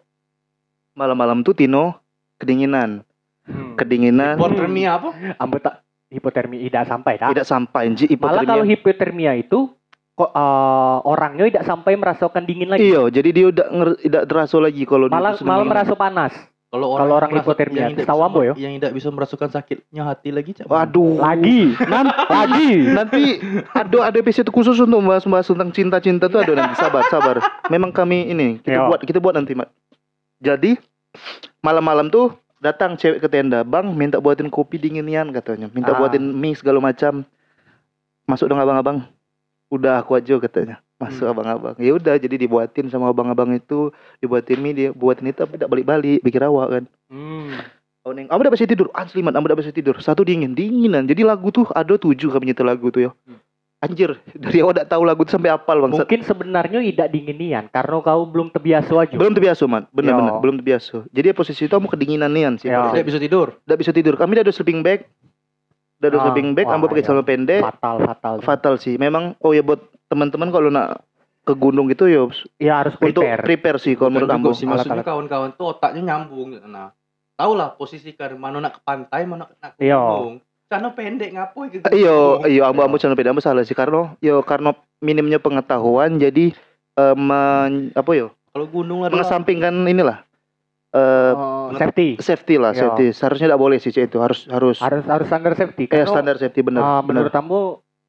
S3: malam-malam tuh tino kedinginan
S2: Hmm.
S3: kedinginan
S2: hipotermia apa
S1: Ambo tak hipotermia tidak sampai tak?
S3: tidak sampai anjir,
S1: Malah
S3: hipotermia
S1: kalau hipotermia itu kok eh, orangnya tidak sampai merasakan dingin lagi.
S3: Iya, jadi dia udah nger, udah terasa lagi kalau dia
S1: malah
S3: tuh
S1: malah
S3: sedang-
S1: merasa panas.
S2: kalau
S1: Kalau orang
S2: merasa-
S1: hipotermia,
S2: yang tidak
S1: setahu
S2: bisa-
S1: ambo ya?
S2: yang tidak bisa merasakan sakitnya hati lagi cak
S3: Waduh.
S1: Lagi,
S3: Nanti,
S1: lagi.
S3: nanti ada ada episode khusus untuk membahas-bahas tentang cinta-cinta tuh ada nanti. Sabar, sabar. Memang kami ini kita
S1: Iya.
S3: buat kita buat nanti, Mat. Jadi malam-malam tuh datang cewek ke tenda, "Bang, minta buatin kopi dinginian," katanya. "Minta
S1: Ah.
S3: buatin mie segala macam." Masuk dong abang-abang. Udah aku aja katanya. Masuk
S1: Hmm.
S3: abang-abang. Ya udah, jadi dibuatin sama abang-abang itu, dibuatin mie, dia buatin itu tapi tidak balik-balik, bikin rawa kan.
S2: hmm.
S3: Oh, neng, kamu udah bisa tidur? Asli man, kamu udah bisa tidur. Satu dingin, dinginan. Jadi lagu tuh ada tujuh kami nyetel lagu tuh ya.
S2: Hmm.
S3: Anjir, dari awal udah tahu lagu tuh sampai apal bang.
S1: Mungkin sebenarnya tidak dinginian karena kau belum terbiasa aja.
S3: Belum terbiasa man, bener-bener
S1: Yo.
S3: belum terbiasa. Jadi ya posisi itu kamu kedinginan nian sih.
S1: Yo.
S3: Udah
S2: tidak bisa tidur
S3: bisa tidur. Kami udah ada sleeping bag, udah ada
S1: Ah,
S3: sleeping bag.
S1: wah,
S3: Kamu pakai
S1: iya.
S3: celana pendek.
S1: Fatal, fatal.
S3: Fatal sih. Memang, oh ya buat teman-teman kalau nak ke gunung gitu ya
S1: ya harus
S3: untuk
S1: prepare.
S3: prepare sih kalau
S2: Dan
S3: menurut
S2: juga
S3: kamu.
S2: sih, maksudnya
S1: Alat-alat.
S2: kawan-kawan tuh otaknya nyambung nah tahu lah posisi kan mana nak ke pantai mana nak ke
S1: Iya.
S2: gunung karena pendek ngapain ke gunung?
S3: Iyo, iyo, ambo ambo channel beda ambo salah sih karena, yo karena minimnya pengetahuan jadi eh, men- apa yo
S2: kalau gunung adalah
S3: mengesampingkan inilah eh
S1: Iya. Oh, safety.
S3: safety lah
S1: Iya.
S3: safety seharusnya tidak boleh sih Cik, itu harus harus
S1: Harus harus standar safety.
S3: eh
S1: Karena,
S3: standar safety benar
S1: ah,
S3: benar
S1: menurut kamu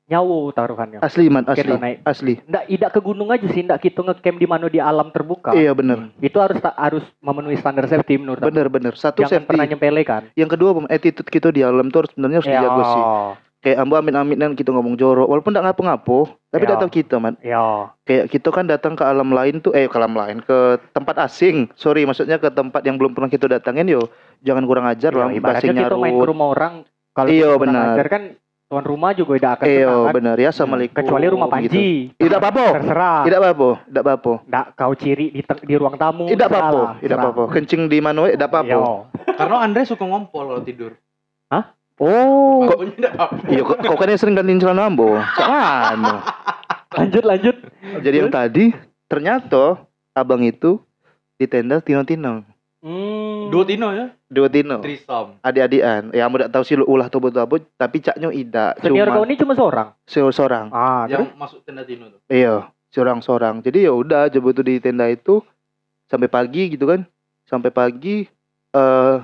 S1: nyawu taruhannya.
S3: Asli man, asli.
S1: Kita naik.
S3: Asli.
S1: Ndak idak ke gunung aja sih, ndak kita ngecamp di mana di alam terbuka.
S3: Iya bener.
S1: Itu harus ta- harus memenuhi standar safety menurut aku.
S3: Bener bener. Satu
S1: Jangan
S3: safety.
S1: pernah nyepelekan.
S3: Yang kedua pem- attitude kita di alam tuh harus- sebenarnya harus
S1: Ya.
S3: dijaga sih. Kayak ambo amin aminan kita ngomong jorok walaupun enggak ngapo-ngapo, tapi
S1: Iya.
S3: datang kita man.
S1: Ya,
S3: Kayak kita kan datang ke alam lain tuh eh ke alam lain ke tempat asing. Sorry maksudnya ke tempat yang belum pernah kita datangin yo. Jangan kurang ajar lah
S1: Iya, ibaratnya
S3: bahasa
S1: kita main ke
S3: nyarut.
S1: rumah orang kalau
S3: Iya,
S1: kita kurang
S3: benar.
S1: ajar kan tuan rumah juga tidak akan
S3: Iya
S1: senang kan.
S3: bener ya assalamualaikum.
S1: kecuali rumah
S3: gitu.
S1: panji. Nah,
S3: Tidak apa-apa.
S1: Terserah.
S3: Tidak apa-apa. Tidak apa-apa.
S1: Ndak kau ciri di, te- di ruang tamu.
S3: Tidak
S1: terserah
S3: apa-apa.
S1: lah,
S3: Tidak
S1: terserah.
S3: apa-apa. Kencing di mana we, tidak apa-apa.
S1: Iya.
S2: Karena Andre suka ngompol kalau tidur.
S1: Oh,
S2: Makanya enggak apa-apa.
S3: Iya, kok, kok kan yang sering gantiin celana ambo. Soalnya.
S1: lanjut lanjut.
S3: Jadi yang tadi ternyata abang itu di tenda tino-tino.
S1: Hmm.
S2: Dua tino ya,
S3: Dua tino.
S2: trisom.
S3: Adik-adian. Ya kamu tidak tahu sih lu ulah tubuh tubuh tapi caknya ida
S1: Senior kau
S3: cuma
S1: ini cuma seorang.
S3: seorang seorang.
S1: Ah, terus
S2: Yang masuk tenda tino tuh.
S3: Iya, seorang seorang. Jadi ya udah jebut tuh di tenda itu sampai pagi gitu kan. Sampai pagi eh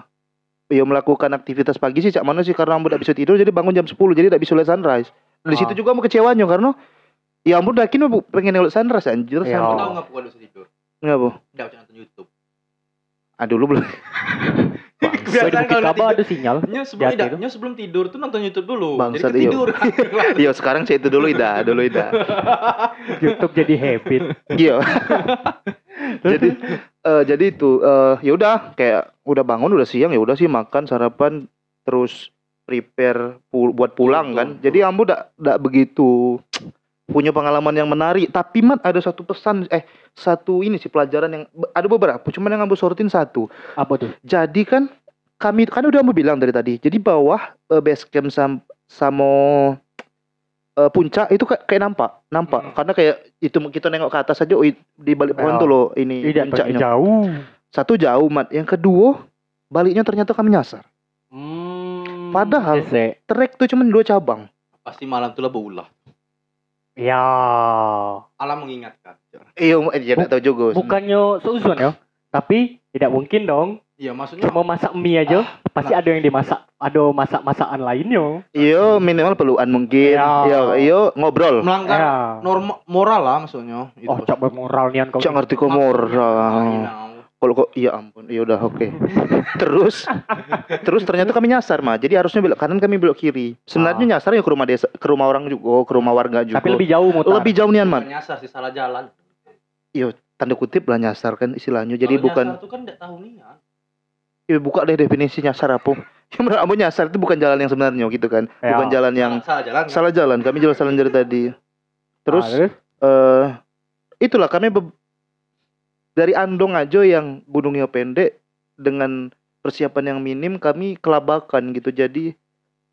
S3: ya melakukan aktivitas pagi sih cak mana sih karena ambo tidak bisa tidur jadi bangun jam 10 jadi tidak bisa lihat sunrise. Di
S1: Ah.
S3: situ juga ambo kecewanya karena ya ambo dakin ambo pengen lihat sunrise anjir.
S1: Iya.
S3: Sunrise.
S2: Kau
S1: Oh.
S2: tahu enggak pokoknya bisa tidur?
S3: Enggak, Bu.
S2: Enggak usah nonton YouTube.
S3: Aduh lu Ah, belum
S1: Kau di
S2: Biasanya
S1: Bukit
S2: kalau
S1: Kaba
S2: nggak
S1: ada sinyal.
S2: tidur- Nyo sebelum,
S1: Jati
S2: tidak,
S1: tuh.
S2: nyo sebelum tidur tuh nonton YouTube dulu.
S3: Bangsat,
S2: Jadi tidur.
S3: Iya sekarang saya itu dulu ida, dulu ida.
S1: YouTube jadi habit.
S3: Iya. jadi eh, jadi itu eh, ya udah kayak udah bangun udah siang ya udah sih makan sarapan terus prepare pu- buat pulang kan. Jadi ambo dak dak begitu punya pengalaman yang menarik tapi mat ada satu pesan eh satu ini sih pelajaran yang ada beberapa cuman yang ambo sorotin satu
S1: Apa tuh?
S3: jadi kan kami kan udah mau bilang dari tadi jadi bawah eh, base camp sam, sama eh, puncak itu kayak, kayak nampak
S2: Hmm.
S3: nampak karena kayak itu kita nengok ke atas aja ui, di balik
S1: Ya.
S3: pohon tuh loh ini
S1: Tidak terlalu
S3: puncaknya
S1: jauh.
S3: satu jauh mat yang kedua baliknya ternyata kami nyasar
S1: Hmm.
S3: Padahal-
S1: Ese.
S3: trek tuh cuman dua cabang
S2: Pasti malam tuh lah berulah.
S1: Ya.
S2: Alam mengingatkan.
S3: iya mat, ya
S1: Bu-
S3: nggak tahu juga
S1: Bukannya seuzon ya. Tapi tidak mungkin dong.
S2: Iya maksudnya
S1: Cuma masak mie aja. Pasti ada yang dimasak. Ada masak-masakan lainnya.
S3: iya minimal peluan mungkin
S1: Ya.
S3: iya iya ngobrol
S2: melanggar
S1: Ya.
S2: norma moral lah maksudnya. Itu.
S1: Oh, cak moral nian kau.
S3: cak
S1: ini.
S3: ngerti kok moral kalau kok iya ampun iya udah oke terus terus ternyata kami nyasar mah jadi harusnya belok kanan kami belok kiri sebenarnya nyasar ya ke rumah desa ke rumah orang juga oh, ke rumah warga juga
S1: Ah. Tapi lebih jauh kan? mutar.
S3: Lebih jauh nian man
S2: Nyasar sih salah jalan.
S3: tanda kutip lah nyasar kan istilahnya jadi
S2: Kalau
S3: bukan
S2: nyasar tuh kan enggak tahu niat.
S3: ya, buka deh definisi nyasar apa ya menurut kamu nyasar itu bukan jalan yang sebenarnya gitu kan
S1: Ya.
S3: bukan jalan yang
S2: salah jalan. kan?
S3: salah jalan kami jelas salah dari tadi terus
S1: Ah, terus?
S3: eh itulah kami be- dari Andong aja yang gunungnya pendek dengan persiapan yang minim kami kelabakan gitu jadi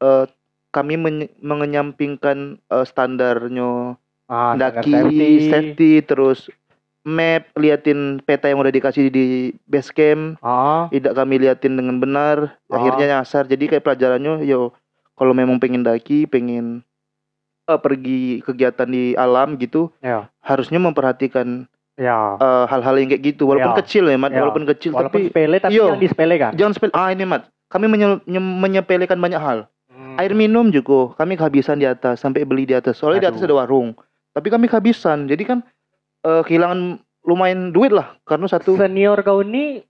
S3: eh, kami menye- mengenyampingkan eh, standarnya
S1: Ah,
S3: daki
S1: standar
S3: safety. terus map liatin peta yang udah dikasih di base camp
S1: Ah,
S3: tidak kami liatin dengan benar
S1: Ah.
S3: akhirnya nyasar jadi kayak pelajarannya yo kalau memang pengen daki pengen eh, pergi kegiatan di alam gitu
S1: Ya.
S3: harusnya memperhatikan
S1: ya.
S3: eh, hal-hal yang kayak gitu walaupun
S1: Ya.
S3: kecil ya mat
S1: Ya.
S3: walaupun kecil
S1: Walaupun
S3: tapi
S1: sepele tapi
S3: Yo.
S1: yang disepele kan.
S3: jangan sepele ah ini mat kami menye- nye- menyepelekan banyak hal
S2: Hmm.
S3: air minum juga kami kehabisan di atas sampai beli di atas soalnya di atas
S1: Aduh.
S3: ada warung tapi kami kehabisan jadi kan eh, kehilangan lumayan duit lah karena satu
S1: Senior kau ini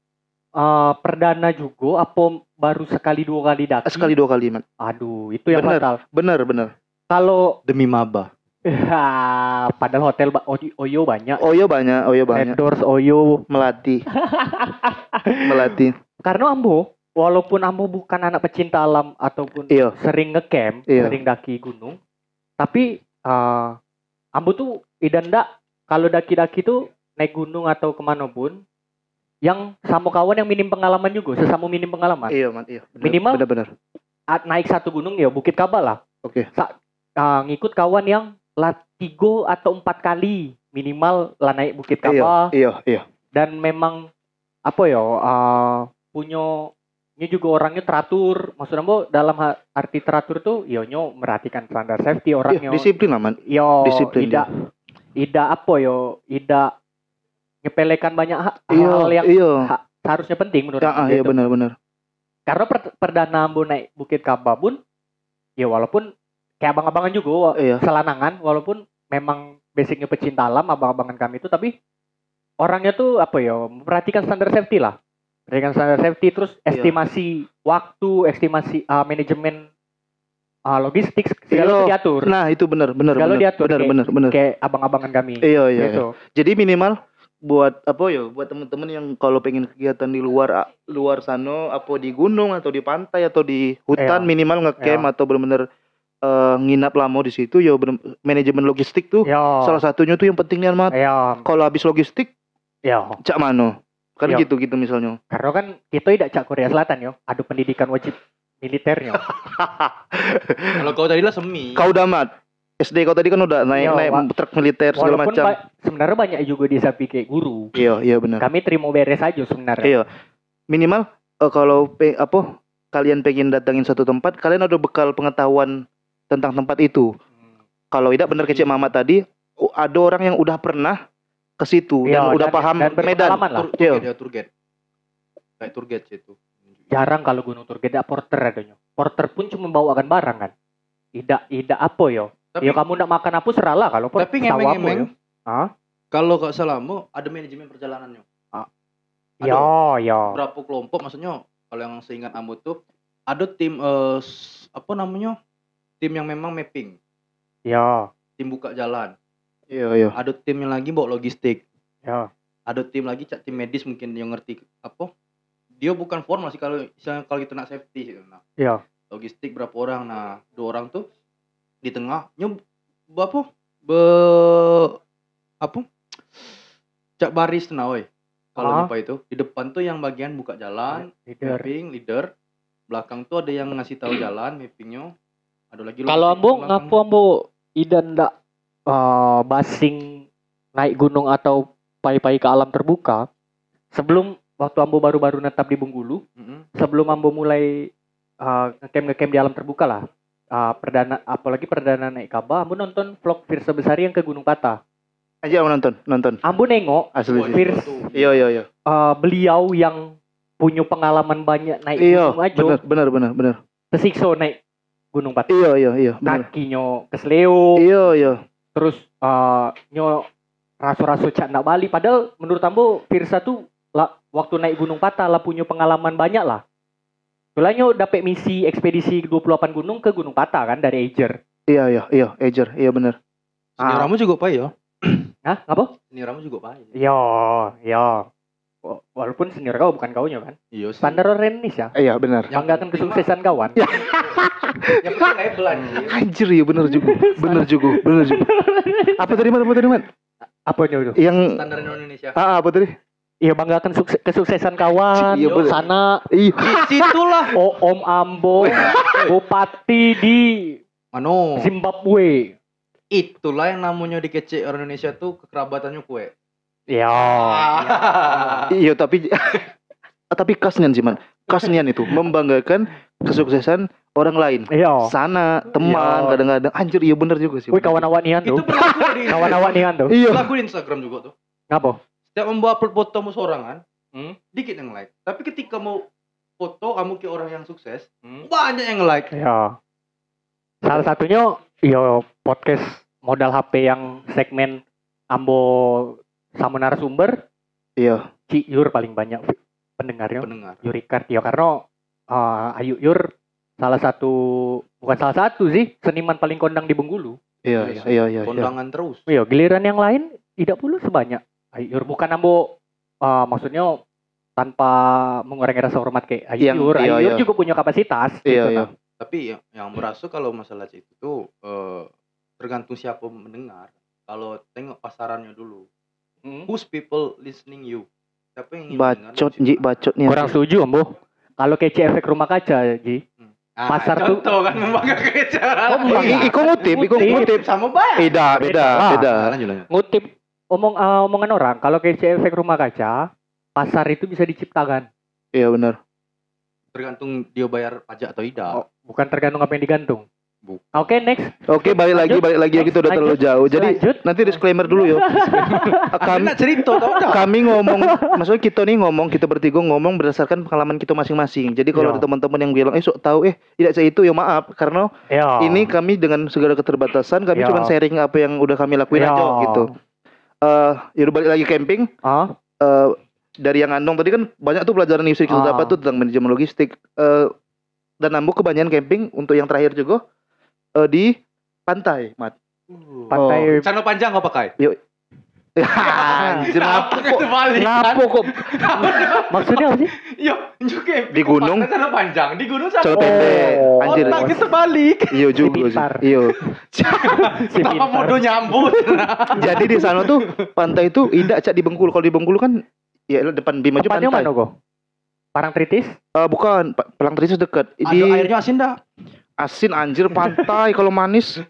S1: eh, perdana juga apa baru sekali dua kali daki?
S3: sekali dua kali mat
S1: Aduh, itu yang
S3: Bener.
S1: fatal.
S3: bener bener
S1: Kalau
S2: demi maba.
S1: ya, padahal hotel ba- Oy- Oyo banyak,
S3: oyo Oh, iya banyak oyo banyak
S1: endorse Oyo.
S3: melati melati
S1: Karena Ambo, walaupun Ambo bukan anak pecinta alam ataupun
S3: Iya.
S1: sering ngecamp,
S3: Iya.
S1: sering daki gunung, tapi eh, Ambo tuh idan ndak kalau daki-daki tuh naik gunung atau kemana pun yang sama kawan yang minim pengalaman juga, sesama minim pengalaman.
S3: iya mat iya Bener-
S1: Minimal-
S3: bener bener
S1: at- naik satu gunung ya Bukit Kaba lah.
S3: Oke.
S1: Sa- ah, ngikut kawan yang lah tiga atau empat kali minimal lah naik Bukit Kaba
S3: iya iya
S1: dan memang apa ya ah, punya ini juga orangnya teratur. Maksudnya Bo, dalam ha- arti teratur tuh yo nyo merhatikan standar safety
S3: Iya,
S1: orangnya.
S3: disiplin lah man
S1: yo
S3: disiplin iya.
S1: tidak tidak apa yo tidak nyepelekan banyak ha-
S3: iya
S1: hal yang gitu.
S3: iya
S1: seharusnya penting menurut
S3: Ya, ah,
S1: aku
S3: iya
S1: itu.
S3: bener bener
S1: Karena per- perdana Ambo naik Bukit Kaba pun, ya walaupun kayak abang-abangan juga wa-
S3: Iya.
S1: selanangan walaupun memang basicnya pecinta alam abang-abangan kami itu tapi orangnya tuh apa ya memperhatikan standar safety lah perhatikan standar safety terus
S3: Iya.
S1: estimasi waktu estimasi uh, manajemen uh, logistik
S3: Iya.
S1: segala itu diatur
S3: Nah, itu benar, benar,
S1: Kalau
S3: benar.
S1: diatur
S3: Benar,
S1: kayak-
S3: benar, benar.
S1: kayak abang-abangan kami
S3: Iya, iya. iya.
S1: gitu
S3: Jadi minimal buat apa yo buat temen-temen yang kalau pengen kegiatan di luar ah, luar sana apa di gunung atau di pantai atau di hutan
S1: Iya.
S3: minimal ngecamp atau benar-benar eh, nginap lama di situ yo bener- manajemen logistik tuh
S1: ya
S3: Uh, salah satunya tuh yang penting nih amat
S1: ya
S3: kalau habis logistik
S1: ya
S3: cak mano kan
S1: Iya.
S3: gitu gitu misalnya
S1: karena kan kita tidak cak Korea Selatan yo ada pendidikan wajib militernya
S2: Kalau kau tadi lah semi.
S3: kau udah mat SD kau tadi kan udah naik
S1: Iya,
S3: naik
S1: Pak.
S3: truk militer segala
S1: walaupun
S3: macam
S1: ba- sebenarnya banyak juga desa pikir guru
S3: iya iya benar
S1: kami terima beres aja sebenarnya.
S3: Iya. minimal eh, kalau pe, apa kalian pengen datangin satu tempat kalian ada bekal pengetahuan tentang tempat itu
S2: Hmm.
S3: kalau tidak bener kecil mama tadi u- ada orang yang udah pernah ke situ
S1: Iya,
S3: dan udah
S1: dan-
S3: paham
S1: dan
S3: medan
S1: berpengalaman lah.
S2: Tur-
S3: Iya.
S2: Turget ya turget. Kayak turget sih itu.
S1: Jarang kalau Gunung Turki ada porter adanya. Porter pun cuma bawakan barang kan. Tidak tidak apa yo.
S2: Tapi-
S1: yo kamu nak makan apa seralah kalau porter.
S2: Tapi ngemeng-ngemeng.
S1: ya? Hah?
S2: Kalau kau salamu ada manajemen perjalanannya.
S1: Yo yo.
S2: Berapa kelompok maksudnya? Kalau yang seingat Ambo tuh ada tim eh, s- apa namanya? Tim yang memang mapping,
S1: Yo
S2: tim buka jalan.
S3: iya iya
S2: Ada tim yang lagi bawa logistik.
S1: yo.
S2: Ada tim lagi cak tim medis mungkin yang ngerti apa? Dia bukan formal sih kalau misalnya kalau kita nak safety gitu. Nah,
S1: Iya.
S2: Logistik berapa orang? Nah, dua orang tuh di tengah nyeb apa? Be apa? Cak baris nah, woi. Kalau
S1: Ah.
S2: nyapa itu di depan tuh yang bagian buka jalan,
S1: Leader.
S2: mapping leader belakang tuh ada yang ngasih tahu jalan mappingnya ada lagi
S1: Kalau
S2: logistik
S1: ambo
S2: belakang.
S1: ngapu ambo idan ndak eh, basing naik gunung atau pai-pai ke alam terbuka sebelum waktu ambo baru-baru netap di Bengkulu
S2: Mm-mm.
S1: sebelum Ambo mulai uh, ngecamp ngecamp di alam terbuka lah uh, perdana apalagi perdana naik Kaba Ambo nonton vlog Firsa Besari yang ke Gunung Pata
S3: aja nonton nonton
S1: Ambo nengok
S3: asli
S2: Wah,
S3: sih
S1: Fir-
S2: itu tuh.
S3: iya iya iya
S1: uh, beliau yang punya pengalaman banyak naik
S3: iya
S1: gunung aja
S3: benar benar benar benar
S1: tersiksa naik Gunung Pata
S3: iya iya iya benar
S1: kakinya kesleo
S3: iya iya
S1: terus uh, nyo raso-raso cak nak Bali padahal menurut Ambo Firsa tuh lah, waktu naik Gunung Pata lah punya pengalaman banyak lah Soalnya dapat misi ekspedisi 28 gunung ke Gunung Pata kan dari Ager.
S3: iya iya iya ejer iya benar
S2: senior
S1: Ah.
S2: kamu juga pak ya
S1: Hah? Apa?
S2: senior kamu juga pak
S1: Yo, yo. Wa- Walaupun senior kau bukan kaunya kan.
S2: iya sih
S1: Standar orang Indonesia.
S3: iya benar
S1: Banggakan kesuksesan kawan.
S3: Iya.
S2: yang penting label anjir
S3: anjir iya benar juga benar juga benar juga apa tadi man apa tadi man
S1: Apa itu?
S3: yang
S2: standar Indonesia
S3: ah apa tadi
S1: Iya banggakan sukse- kesuksesan kawan.
S3: Iya, bener.
S1: sana
S3: Ih,
S2: di situ lah
S1: O- Om Ambo, Bupati di
S3: Oh.
S2: mano
S1: Zimbabwe.
S2: itulah yang namanya di kece orang Indonesia tuh kekerabatannya kue
S1: Yo.
S3: Ah. Iya tapi tapi kasnian sih man, kasnian itu membanggakan kesuksesan orang lain.
S1: Yo.
S3: Sana teman
S1: Oh. Iya.
S3: kadang-kadang anjir iya bener juga sih.
S1: Wih kawan awan nian
S2: itu
S1: tuh.
S2: berlaku di
S1: Kawan awan nian tuh.
S3: gitu. Iya.
S2: berlaku di Instagram juga tuh
S1: Ngapa?
S2: setiap membuat upload foto kamu seorangan
S1: Hmm?
S2: dikit yang like tapi ketika mau foto kamu ke orang yang sukses
S4: Hmm.
S2: banyak yang like
S1: Yo. Iya. Salah satunya yo podcast modal HP yang segmen Ambo sama narasumber
S3: Iya.
S1: Ci Yur paling banyak pendengarnya
S2: pendengar
S1: Yuri Kartio karena eh, Ayu Yur salah satu bukan salah satu sih seniman paling kondang di Bengkulu.
S3: Iya
S2: Iya.
S3: iya iya. iya.
S2: kondangan terus
S1: Iya, giliran yang lain tidak perlu sebanyak Ayu Yur bukan ambo eh, maksudnya tanpa mengurangi rasa hormat kayak Ayu
S3: Yang-
S1: Yur. Ayu
S3: iya,
S1: Yur
S3: iya.
S1: juga punya kapasitas.
S3: Iya,
S1: gitu,
S3: iya.
S1: kan.
S2: tapi yang, yang merasa kalau masalah itu tuh eh, tergantung siapa mendengar kalau tengok pasarannya dulu
S1: Hmm.
S2: who's people listening you siapa yang ingin
S3: Bacot
S2: mendengar?
S3: ji bacot nih.
S1: Kurang setuju ambo. Kalau kece efek rumah kaca, Ji.
S2: Ah,
S1: pasar tuh-
S2: contoh kan membangga kerja
S3: Oh,
S1: membangga.
S3: Ah, I- i- Iko ngutip, Iko
S1: Ngutip.
S3: ngutip.
S2: Iya, sama baik
S3: Beda beda
S1: Wah.
S3: beda.
S2: Nah, lanjut lanjut
S1: Ngutip omong eh, omongan orang, kalau kece efek rumah kaca, pasar itu bisa diciptakan.
S3: Iya benar.
S2: tergantung dia bayar pajak atau tidak
S1: Oh, bukan tergantung apa yang digantung. Oke, next.
S3: Oke, balik lagi,
S1: Lanjut.
S3: balik lagi ya kita udah terlalu
S1: Lanjut.
S3: jauh. Jadi
S1: Lanjut.
S3: nanti disclaimer dulu yo.
S2: Kami
S3: Kami,
S2: nak cerita tau tak?
S3: kami ngomong, maksudnya kita nih ngomong, kita bertiga ngomong berdasarkan pengalaman kita masing-masing. Jadi
S1: Iya.
S3: kalau ada teman-teman yang bilang, eh sok tahu, eh tidak saya itu, ya maaf, karena
S1: Yo.
S2: Ya. Ah.
S3: ini kami dengan segala keterbatasan, kami
S1: Iya.
S3: cuma sharing apa yang udah kami lakuin
S1: Iya.
S3: aja gitu. Eh, yaudah balik lagi camping.
S1: Ah,
S3: eh, dari yang Andong tadi kan banyak tuh pelajaran yang bisa kita
S1: Ah.
S3: dapat tuh tentang manajemen logistik Eh, dan nambah kebanyakan camping untuk yang terakhir juga eh, di pantai mat
S1: pantai
S2: Celana Uh. panjang kau pakai?
S3: Anjir,
S2: Apa
S3: ngapo kok
S2: kebalik?
S3: ngapo kok
S1: maksudnya apa sih?
S2: Yo, juga
S3: Di gunung?
S2: Celana panjang, di gunung celana
S3: celana pendek anjir
S2: Oh. Otak kita balik.
S3: iyo juga sih Iya.
S1: pintar.
S3: iyo
S1: Si
S2: Kenapa
S1: pintar.
S2: bodoh nyambut?
S3: jadi di sana tuh pantai itu tidak cak di Bengkulu kalau di Bengkulu kan ya elah, depan Bima aja
S1: Tempatnya mana
S3: pantai
S1: kok? Parang Tritis?
S3: Eh, bukan Pa- Pelang Trisis dekat di
S2: Aduh, airnya asin dah.
S3: asin anjir pantai kalau manis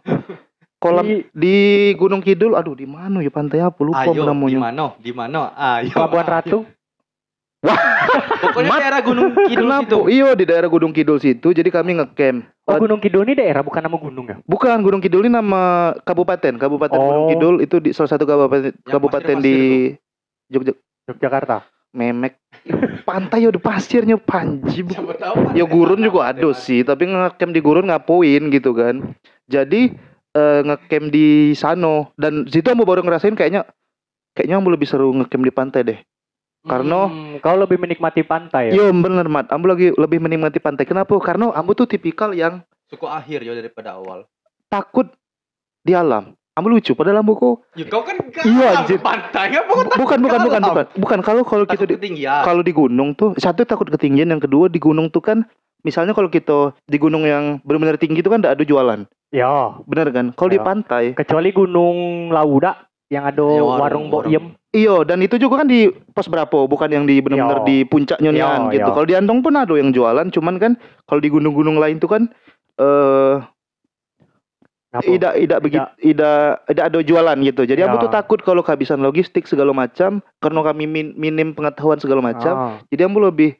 S3: kolam
S1: Di
S3: di Gunung Kidul aduh di mana ya pantai apa lupa
S2: Ayo, di
S3: namanya
S2: mana? Di mana? Ayo.
S1: Pelabuhan Ratu? Oh,
S2: Pokoknya
S3: Mat.
S2: daerah Gunung Kidul
S3: Kenapa? Iya.
S2: situ.
S3: Iyo di daerah Gunung Kidul situ. Jadi kami ngecamp.
S1: Oh,
S3: Eh,
S1: Gunung Kidul ini daerah, bukan nama gunung ya?
S3: Bukan Gunung Kidul ini nama kabupaten. Kabupaten
S1: Oh.
S3: Gunung Kidul itu di salah satu kabupaten
S2: Yang
S3: kabupaten di Jogja
S1: Yogyakarta.
S3: Memek. Pantai udah pasirnya panji. Bu.
S2: Siapa tahu. kan
S3: Ya gurun juga ada sih, tapi ngecamp di gurun ngapoin gitu kan. Jadi eh, ngecamp di sano dan situ kamu baru ngerasain kayaknya kayaknya kamu lebih seru ngecamp di pantai deh. Karena
S1: Hmm, kau lebih menikmati pantai ya?
S3: Yo bener mat, ambu lagi lebih menikmati pantai. Kenapa? Karena ambu tuh tipikal yang
S2: suku akhir ya daripada awal.
S3: takut di alam. Ambo lucu padahal ambo kok
S2: Ya kau kan gak
S3: Iya, anjir.
S2: pantai apa kau
S3: bukan bukan
S2: kalau
S3: bukan
S2: am-
S3: bukan. Bukan kalau kalau kita
S2: takut
S3: di,
S2: ketinggian.
S3: kalau di gunung tuh satu takut ketinggian, yang kedua di gunung tuh kan misalnya kalau kita di gunung yang benar-benar tinggi itu kan enggak ada jualan.
S1: Ya,
S3: Bener kan? Kalau di
S1: Ya.
S3: pantai,
S1: kecuali Gunung Lauda yang ada
S2: Ya,
S1: warung,
S2: warung-
S1: Bok
S2: warung.
S1: Yem.
S3: iyo dan itu juga kan di pos berapa, bukan yang di benar-benar
S1: Yo.
S3: di puncak
S1: Yo,
S3: Nyonian gitu.
S1: yo.
S3: Kalau di Andong pun ada yang jualan, cuman kan kalau di gunung-gunung lain tuh kan eh
S1: Apa?
S3: tidak tidak begitu tidak tidak ada jualan gitu. Jadi
S1: Ya.
S3: ambo tuh takut kalau kehabisan logistik segala macam karena kami min- minim pengetahuan segala macam.
S1: Ah.
S3: Jadi ambo lebih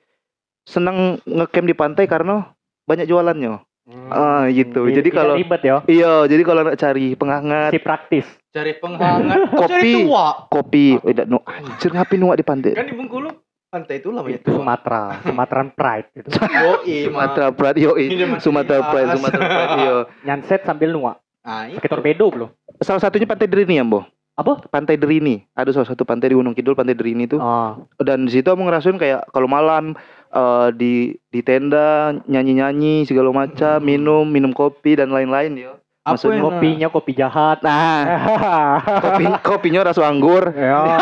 S3: senang ngecamp di pantai karena banyak jualannya. Ah gitu.
S1: Tidak-
S3: Jadi
S1: tidak
S3: kalau
S1: ribet ya,
S3: iya, jadi kalau nak cari penghangat
S1: si praktis.
S2: cari penghangat, Kau
S3: Kopi.
S2: cari tua.
S3: kopi, eh, dak nu anjir ngapain nuak di pantai.
S2: Kan di Bengkulu pantai itu lah
S3: Gitu.
S1: Itu Sumatera, Sumatera Pride gitu.
S2: Yoi, Mat.
S3: Sumatera Pride, yo
S2: Ini dia masih
S3: Sumatera
S2: di
S3: Pride,
S2: atas.
S3: Sumatera Pride, yo.
S1: Nyanset sambil nuak,
S2: Ah, iya.
S1: pakai torpedo belum?
S3: Salah satunya Pantai Derini ya, Bo.
S1: Apa?
S3: Pantai Derini. Ada salah satu pantai di Gunung Kidul, Pantai Derini itu.
S1: Ah,
S3: dan di situ aku ngerasain kayak kalau malam eh, di di tenda nyanyi-nyanyi segala
S2: Hmm.
S3: macam, minum minum kopi dan lain-lain yo.
S2: Apa
S3: Maksudnya
S2: yang-
S1: kopinya kopi jahat.
S3: Nah, kopi kopinya ras anggur.
S1: Ya.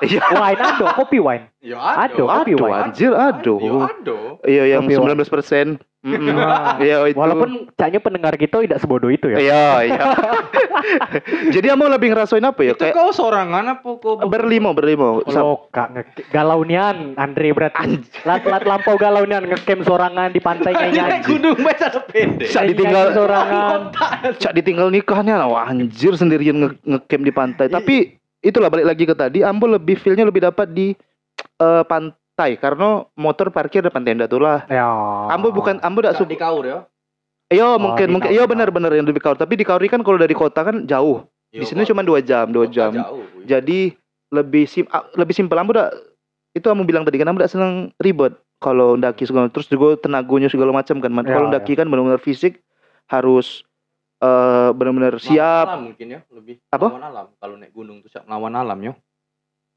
S3: Iya.
S1: wine ada, kopi wine.
S2: Ya
S1: Aduh, kopi
S3: Aduh,
S1: wine.
S3: anjir, aduh.
S2: Ya aduh.
S3: Iya yang
S1: Kopi wine.
S3: 19 persen.
S1: Nah,
S3: Iya itu.
S1: Walaupun kayaknya pendengar kita tidak sebodoh itu ya.
S3: Iya, iya. Jadi kamu lebih ngerasain apa ya?
S2: Itu
S3: Kayak
S2: kau sorangan apa kau
S3: berlimo, berlimo. Sam-
S1: Kalau kak nge- galaunian Andre berarti lat lat lampau galaunian ngecamp sorangan di pantai
S2: Ini
S1: kayaknya.
S2: gunung baca pendek.
S3: Cak Iya, ditinggal
S1: sorangan.
S3: Cak ditinggal nikahnya lah. Wah, anjir sendirian nge ngecamp di pantai. Tapi itulah balik lagi ke tadi, Ambo lebih feel-nya lebih dapat di eh, pantai karena motor parkir depan tenda tuh lah.
S1: Ya.
S3: Ambo bukan Ambo
S2: Cak
S3: dak suka.
S2: di kaur ya.
S3: Yo
S1: di
S3: mungkin mungkin
S1: Kauri.
S3: yo benar-benar yang di Kauri tapi di Kauri kan kalau dari kota kan jauh.
S2: Ya,
S3: Di
S2: Iya,
S3: sini cuma dua jam, dua jam. Jadi lebih sim ah, lebih simpel Ambo dak itu kamu bilang tadi kan Ambo dak seneng ribet kalau ndaki segala terus juga tenaganya segala macam kan. Man.
S1: Ya,
S3: Kalau ndaki kan benar-benar fisik harus eh benar-benar siap
S2: Lawan alam mungkin ya lebih
S3: Apa?
S2: lawan alam kalau naik gunung tuh cak lawan alam ya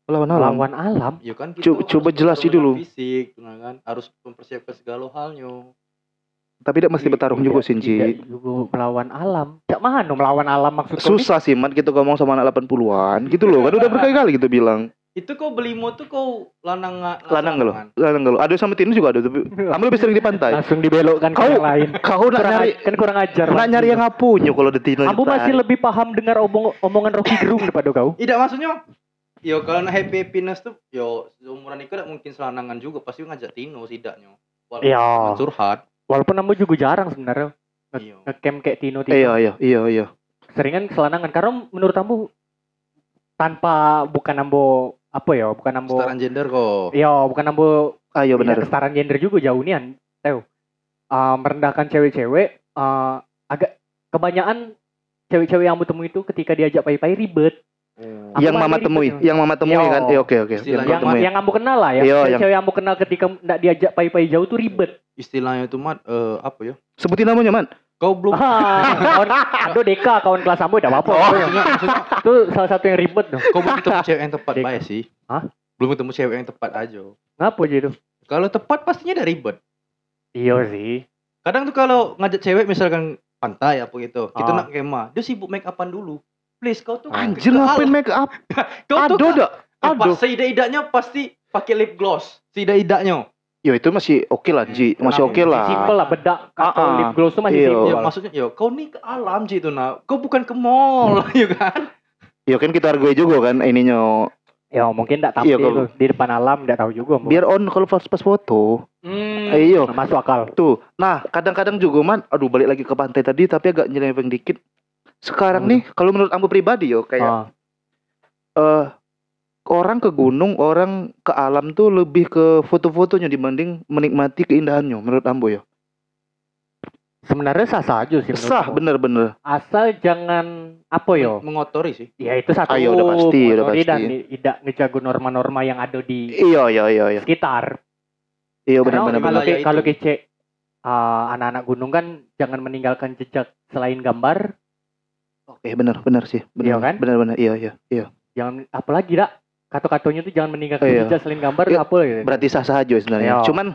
S3: lawan alam.
S1: lawan alam.
S2: ya kan kita
S3: Coba-
S2: harus
S3: coba jelasin
S2: pertarungan
S3: dulu.
S2: fisik benar kan harus mempersiapkan segala halnya
S3: Tapi tidak mesti bertarung juga sih, Ji.
S1: Tidak juga melawan alam. Cak mana melawan alam maksud kau
S3: Susah sih, Mat, gitu ngomong sama anak 80-an. Gitu loh, kan udah berkali-kali gitu bilang.
S2: itu kau belimo tuh kau lanang
S3: Lanang gak lo? Lanang gak lo? Ada sama Tino juga ada, tapi
S1: ni?
S3: kamu lebih sering di pantai.
S1: Langsung dibelokkan ke
S3: Kau-
S1: yang lain.
S3: Iya. Kau nak
S1: Kurang
S3: nyari
S1: a- kan kurang ajar.
S3: nak
S1: langsung.
S3: nyari yang ngapunyo kalau di Tino.
S1: Ambo masih lebih paham dengar omong- omongan Rocky Gerung daripada kau.
S2: tidak maksudnya Yo kalau nak happy happiness tuh yo seumuran itu tak mungkin selanangan juga pasti ngajak Tino setidaknya. Walaupun
S1: Iya.
S2: cuma curhat.
S1: Walaupun Ambo juga jarang sebenarnya
S2: Iya.
S1: ngecamp kayak Tino Tino.
S3: Iya, iya, iya, iya.
S1: Seringan selanangan karena menurut Ambo tanpa bukan Ambo apa ya, bukan Ambo
S2: Kesetaraan gender kok.
S1: Iya, bukan ya, Ambo
S3: Ayo
S1: tidak
S3: Iya, benar.
S1: kesetaraan gender juga jauh nian. Tahu. Eh, merendahkan Ah, cewek-cewek eh agak kebanyakan cewek-cewek yang aku temui itu ketika diajak pai-pai ribet. Aku
S3: yang
S1: paling
S3: mama
S1: ribet
S3: temui,
S1: emang.
S3: yang mama temui
S1: Yo.
S3: kan? Eh, oke oke. Yang
S2: Istilahnya
S3: kau
S1: yang
S3: temui.
S1: yang kamu kenal lah ya.
S3: Yo,
S1: cewek
S3: Iya, yang-
S1: cewek yang kamu kenal ketika ndak diajak pai-pai jauh tuh ribet.
S2: Istilahnya itu mat eh, apa ya?
S3: Sebutin namanya, Man.
S2: Kau belum
S1: Ah, kawan, aduh Deka kawan kelas kamu udah
S3: Oh.
S1: apa-apa.
S2: maksudnya, maksudnya
S1: Itu salah satu yang ribet dong.
S2: kau belum ketemu cewek yang tepat
S3: Iya.
S1: Dek.
S2: baik sih.
S1: Hah?
S2: Belum ketemu cewek yang tepat aja.
S1: Ngapa aja itu?
S2: Kalau tepat pastinya udah ribet.
S1: Iya sih.
S2: Kadang tuh kalau ngajak cewek misalkan pantai apa gitu, kita
S1: Ah.
S2: nak kemah, dia sibuk make upan dulu. Please kau tuh
S3: Anjir
S2: kau-
S3: ngapain make up?
S2: Kau
S1: kan
S2: tuh
S3: Aduh dah.
S2: Ya, Pak,
S3: Aduh.
S2: Seidak-idaknya pasti pakai lip gloss. Seidak-idaknya.
S3: Yo itu masih oke lah, Ji. Masih
S2: Kenapa?
S3: oke lah.
S1: Simple lah bedak atau
S3: Ah, ah.
S1: lip gloss tuh masih
S3: Iya.
S1: simple.
S2: Ya, maksudnya ya kau nih ke alam sih itu nah. Kau bukan ke mall,
S1: Hmm.
S2: ya kan?
S3: Yo kan kita hargai juga kan ininya.
S1: Ya mungkin ndak tampil
S3: Iya, kalau-
S1: tuh. di depan alam ndak tahu juga. Mbak.
S3: Biar on kalau pas pas foto.
S2: Hmm.
S3: Eh, Iyo.
S1: masuk akal.
S3: Tuh. Nah, kadang-kadang juga man, aduh balik lagi ke pantai tadi tapi agak nyeleweng dikit. Sekarang
S1: Apa
S3: nih kalau menurut ambo pribadi yo kayak
S1: Ah.
S3: eh orang ke gunung, orang ke alam tuh lebih ke foto-fotonya dibanding menikmati keindahannya menurut ambo yo.
S1: Sebenarnya sah sah aja sih. Iya, menurut
S3: Sah
S1: aku.
S3: bener-bener.
S1: Asal jangan apa yo.
S2: Mengotori sih.
S1: Ya itu satu.
S3: Ah, iya, udah pasti, udah
S1: motori dan
S3: pasti.
S1: i- tidak ngejago norma-norma yang ada di
S3: Iya, iya, iya, iya.
S1: sekitar.
S3: Iya
S1: Karena
S2: benar,
S3: bener-bener.
S2: benar,
S1: kalau
S2: benar.
S1: ke- kalau
S2: Wilayah
S1: kece ah, anak-anak gunung kan jangan meninggalkan jejak selain gambar.
S3: Oke, Eh, benar benar sih. Benar
S1: Iya kan?
S3: Benar benar. Iya, iya, iya.
S1: Jangan apalagi dak kata-katanya tuh jangan meninggalkan
S3: Iya.
S1: jejak selain gambar
S3: Iya.
S1: apa gitu.
S3: Berarti sah-sah aja sebenarnya.
S1: Iya.
S3: Cuman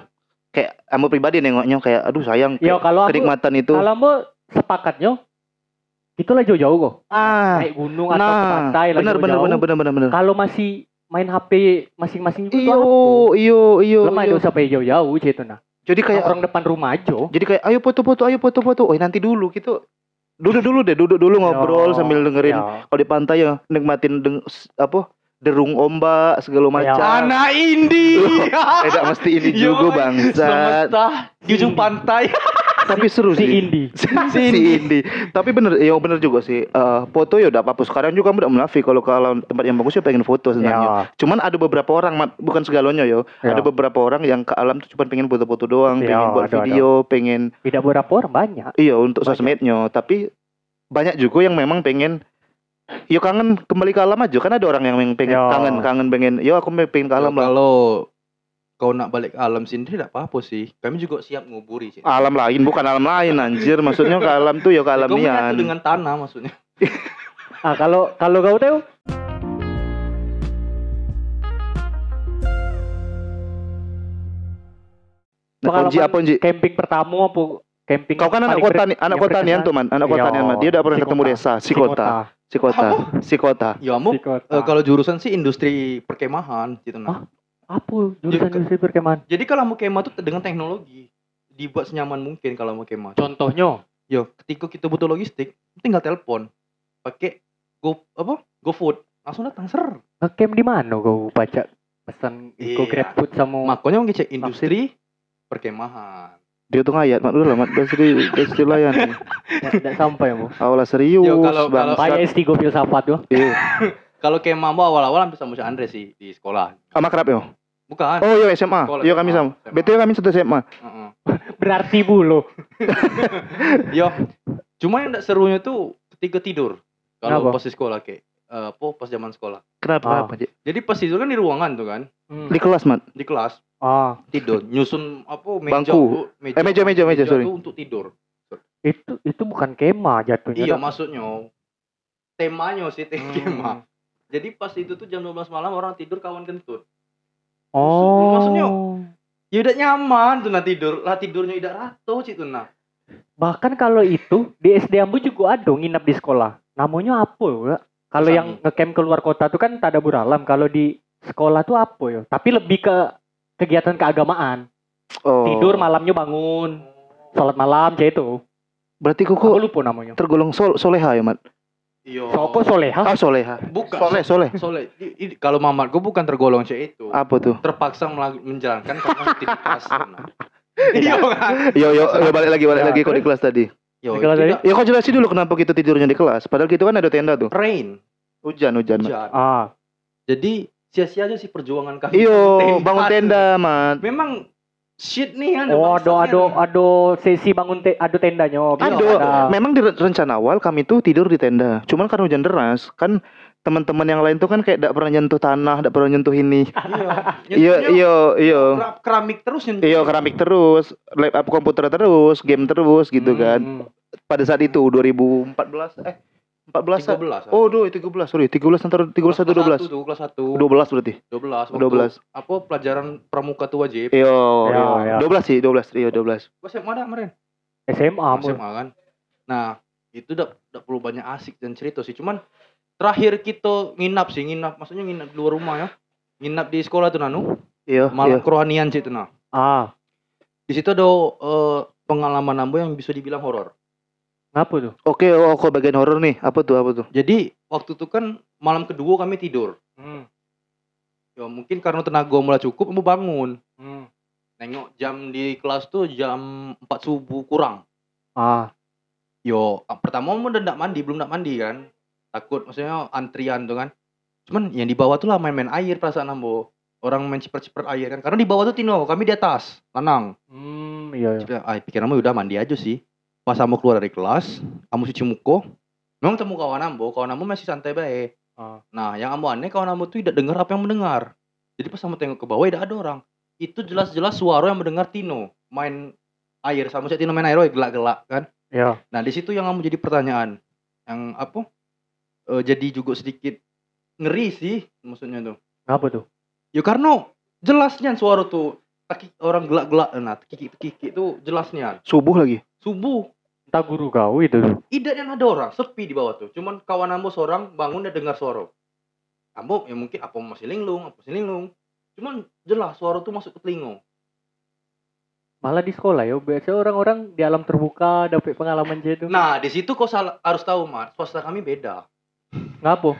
S3: kayak kamu pribadi nengoknya kayak aduh sayang
S1: Yo
S3: ke-
S1: Iya, kalau aku
S3: kenikmatan itu.
S1: kalau mau sepakatnya itulah jauh-jauh kok.
S3: ah.
S1: Naik gunung atau ke
S3: Nah,
S1: pantai lah
S3: benar benar
S1: jauh-jauh.
S3: benar benar benar benar.
S1: Kalau masih main HP masing-masing itu
S3: Iyo,
S1: tuh
S3: iyo, iyo.
S1: apa? lemah
S3: iyo.
S1: itu sampai jauh-jauh gitu nah.
S3: Jadi kayak
S1: Kayak orang depan rumah aja.
S3: jadi kayak ayo foto-foto, ayo foto-foto. Oh, nanti dulu gitu. Duduk dulu deh, duduk
S1: Iya.
S3: dulu ngobrol
S1: Yo,
S3: sambil dengerin.
S1: yo.
S3: Kalau di pantai ya nikmatin deng, s- apa? Derung ombak segala
S1: Iya.
S3: macam.
S2: Anak indie.
S3: Tidak mesti ini
S2: Yo,
S3: juga bangsat.
S2: Semesta di ujung pantai.
S3: Tapi seru
S1: si
S3: sih.
S1: Indi.
S3: si Indi. Tapi bener, ya bener juga sih. Eh, foto ya udah apa-apa. Sekarang juga kamu udah munafik kalau ke alam tempat yang bagus ya pengen foto
S1: Ya.
S3: sebenarnya. Cuman ada beberapa orang, Mat, bukan segalanya yo.
S1: Ya.
S3: Ada beberapa orang yang ke alam tuh cuma pengen foto-foto doang,
S1: Ya,
S3: pengen buat
S1: ada, ada.
S3: video, pengen
S1: Tidak berapa orang banyak.
S3: iya untuk
S1: Banyak.
S3: sosmednya. Tapi banyak juga yang memang pengen Yo kangen kembali ke alam aja kan ada orang yang memang pengen
S1: Ya.
S3: kangen kangen pengen yo aku pengen ke alam lah
S2: Kalau kau nak balik ke alam sendiri tidak apa-apa sih. Kami juga siap nguburi sih.
S3: alam lain bukan alam lain anjir maksudnya ke alam tuh yo ke alam
S2: kau menyatu
S3: nian
S2: dengan tanah maksudnya.
S1: Ah kalau kalau kau tahu
S3: nah, Ponji apa Ponji?
S1: camping pertama apa camping
S3: Kau kan anak
S1: paling
S3: kota
S1: ber-
S3: nih, anak
S1: yang
S3: kota nih
S1: berkesan?
S3: antum man, anak kota
S1: Iya.
S3: nih man. Dia udah pernah
S1: Si
S3: ketemu
S1: kota.
S3: desa, Ya. si
S1: Si
S3: kota,
S1: kota.
S3: si kota, si kota.
S2: Ya
S1: Si
S2: kamu
S1: kota.
S2: eh, kalau jurusan sih industri perkemahan gitu nah.
S1: Hah? apa jurusan
S2: Jadi-
S1: industri perkemahan?
S2: Jadi kalau mau kemah tuh dengan teknologi dibuat senyaman mungkin kalau mau kemah.
S1: Contohnya
S2: Yo, ketika kita butuh logistik, tinggal telepon. Pakai Go apa? GoFood. Langsung datang ser.
S1: ngecamp di mana kau baca pesan Go
S2: Iya.
S1: Grab Food sama
S2: Makanya ngecek industri perkemahan.
S3: Dia tuh ngayat, mak udah lah, mak udah seri, udah seri layan.
S1: tidak sampai bu.
S3: Awalnya serius,
S2: Yo, kalau- kalau-
S3: bangsat. Ah,
S1: Kayak S3 filsafat tuh.
S3: Iya.
S2: Kalau kemah mau awal-awal hampir sama si Andre sih di sekolah.
S3: Sama kerap yo.
S2: Bukan.
S3: Oh yo SMA,
S2: Sekolah,
S3: yo kami sama.
S2: SMA.
S3: Betul kami satu SMA.
S2: Heeh.
S1: Berarti bu lo.
S2: Yo, cuma yang enggak serunya tuh ketika tidur. Kalau
S1: Kenapa?
S2: pas di sekolah kayak eh, apa pas zaman sekolah.
S1: Ah.
S3: Kenapa? Apa, Ji?
S2: Jadi pas tidur kan di ruangan tuh kan,
S3: Di kelas man.
S2: di kelas
S1: Ah,
S2: tidur, nyusun apa meja
S3: Bangku.
S2: dulu, meja,
S3: Eh, meja, meja, meja, sorry.
S2: tuh untuk tidur.
S1: itu itu bukan kema jatuhnya. Dak.
S2: Iya maksudnya temanya sih tema.
S1: Hmm.
S2: Jadi pas itu tuh jam 12 malam orang tidur kawan kentut.
S1: Oh.
S2: Maksudnya, Ya udah nyaman tuh nah tidur. Lah tidurnya udah rato sih tuh nah.
S1: Bahkan kalau itu di SD Ambu juga ada nginap di sekolah. Namanya apa ya? Kalau
S2: Sami.
S1: yang ngecamp keluar kota tuh kan tadabur alam. Kalau di sekolah tuh apa ya? Tapi lebih ke kegiatan keagamaan.
S3: Oh.
S1: Tidur malamnya bangun, sholat malam kayak itu.
S3: Berarti
S1: Aku
S3: kuku
S1: lupa namanya.
S3: tergolong sol soleha ya man.
S2: Iya.
S1: Sopo soleha?
S3: Ah soleha.
S2: Bukan.
S3: Soleh soleh.
S2: Soleh. I- i- Kalau mamat gue bukan tergolong cewek itu.
S3: Apa tuh?
S2: Terpaksa melaku- menjalankan karena aktivitas. tuh, nah. Iya kan?
S3: Yo yo, yo balik lagi balik
S1: Ya,
S3: lagi kok di kelas tadi.
S2: Yo,
S1: Kalau
S2: itu
S1: tadi-
S2: dah
S3: Ya kau jelasin dulu kenapa kita tidurnya di kelas. Padahal gitu kan ada tenda tuh.
S2: rain,
S3: Hujan hujan. Man.
S2: hujan.
S1: Ah,
S2: Jadi sia-sia aja sih perjuangan kami.
S3: Iyo bangun tenda man.
S2: Memang shit nih kan.
S1: Oh, ado ado ado sesi bangun te, ado tendanya. oh, bisa
S3: Kan Ada.
S1: ada.
S3: Memang di re- rencana awal kami tuh tidur di tenda. Cuman karena hujan deras, kan teman-teman yang lain tuh kan kayak tidak pernah nyentuh tanah, tidak pernah nyentuh ini.
S2: Ya,
S3: Iya, iya, iya.
S2: Keramik terus nyentuh.
S3: Iya, keramik terus, laptop komputer terus, game terus gitu
S2: Hmm.
S3: kan. Pada saat itu 2014 eh 14
S2: 13.
S3: an- Oh, duh, 13. Sorry, 13 antara 13 atau
S2: 12. ah.
S3: 12.
S2: Kelas 1.
S3: 12 berarti.
S2: 12.
S3: 12.
S2: 12. Apa pelajaran pramuka tuh wajib?
S3: Iya,
S1: Iya, iya.
S3: iya. 12 sih, 12. Iya, 12.
S2: Gua SMA dah kemarin.
S1: SMA
S2: Masih
S1: mul.
S2: kan. Nah, itu udah udah perlu banyak asik dan cerita sih. Cuman terakhir kita nginap sih, nginap. Maksudnya nginap di luar rumah ya. Nginap di sekolah tuh Nanu.
S3: Iya, iya.
S2: Malam kerohanian sih tuh nah.
S1: Ah,
S2: Di situ ada eh, pengalaman Ambo yang bisa dibilang horor.
S1: ngapa tuh?
S3: Oke, oh, kok bagian horor nih. Apa tuh? Apa tuh?
S2: Jadi waktu itu kan malam kedua kami tidur.
S3: Hmm,
S2: Ya mungkin karena tenaga mulai cukup Ambo bangun.
S3: hmm.
S2: Nengok jam di kelas tuh jam 4 subuh kurang.
S1: Ah,
S2: Yo, ah, pertama mau udah ndak mandi, belum ndak mandi kan. Takut maksudnya antrian tuh kan. Cuman yang di bawah tuh lah main-main air perasaan ambo. Orang main ciper-ciper air kan. Karena di bawah tuh Tino, kami di atas, lanang.
S1: hmm, iya iya.
S2: Ciper- Ah, pikiran ambo udah mandi aja sih. Pas ambo keluar dari kelas, ambo cuci muko. Memang temu kawan ambo, kawan ambo masih santai bae.
S1: Ah.
S2: Nah, yang ambo aneh kawan ambo tuh tidak dengar apa yang mendengar. Jadi pas ambo tengok ke bawah tidak ada orang. Itu jelas-jelas suara yang mendengar Tino main air sama si Tino main air, woy, gelak-gelak kan.
S1: Iya.
S2: Nah, di situ yang kamu jadi pertanyaan. Yang apa? Eh, jadi juga sedikit ngeri sih maksudnya tuh.
S1: Ngapa tuh?
S2: Ya karena jelasnya suara tuh kaki orang gelak-gelak nah kiki-kiki itu jelasnya
S3: Subuh lagi.
S2: subuh
S1: Entah guru kau itu. tuh.
S2: tidak yang ada orang sepi di bawah tuh cuman kawan ambo seorang bangun dan dengar suara ambo ya mungkin apa masih linglung apa masih linglung cuman jelas suara tuh masuk ke telinga
S1: Malah di sekolah ya. Biasanya orang-orang di alam terbuka dapat pengalaman gitu.
S2: nah di situ kau salah, harus tahu mas swasta kami beda
S1: Ngapa?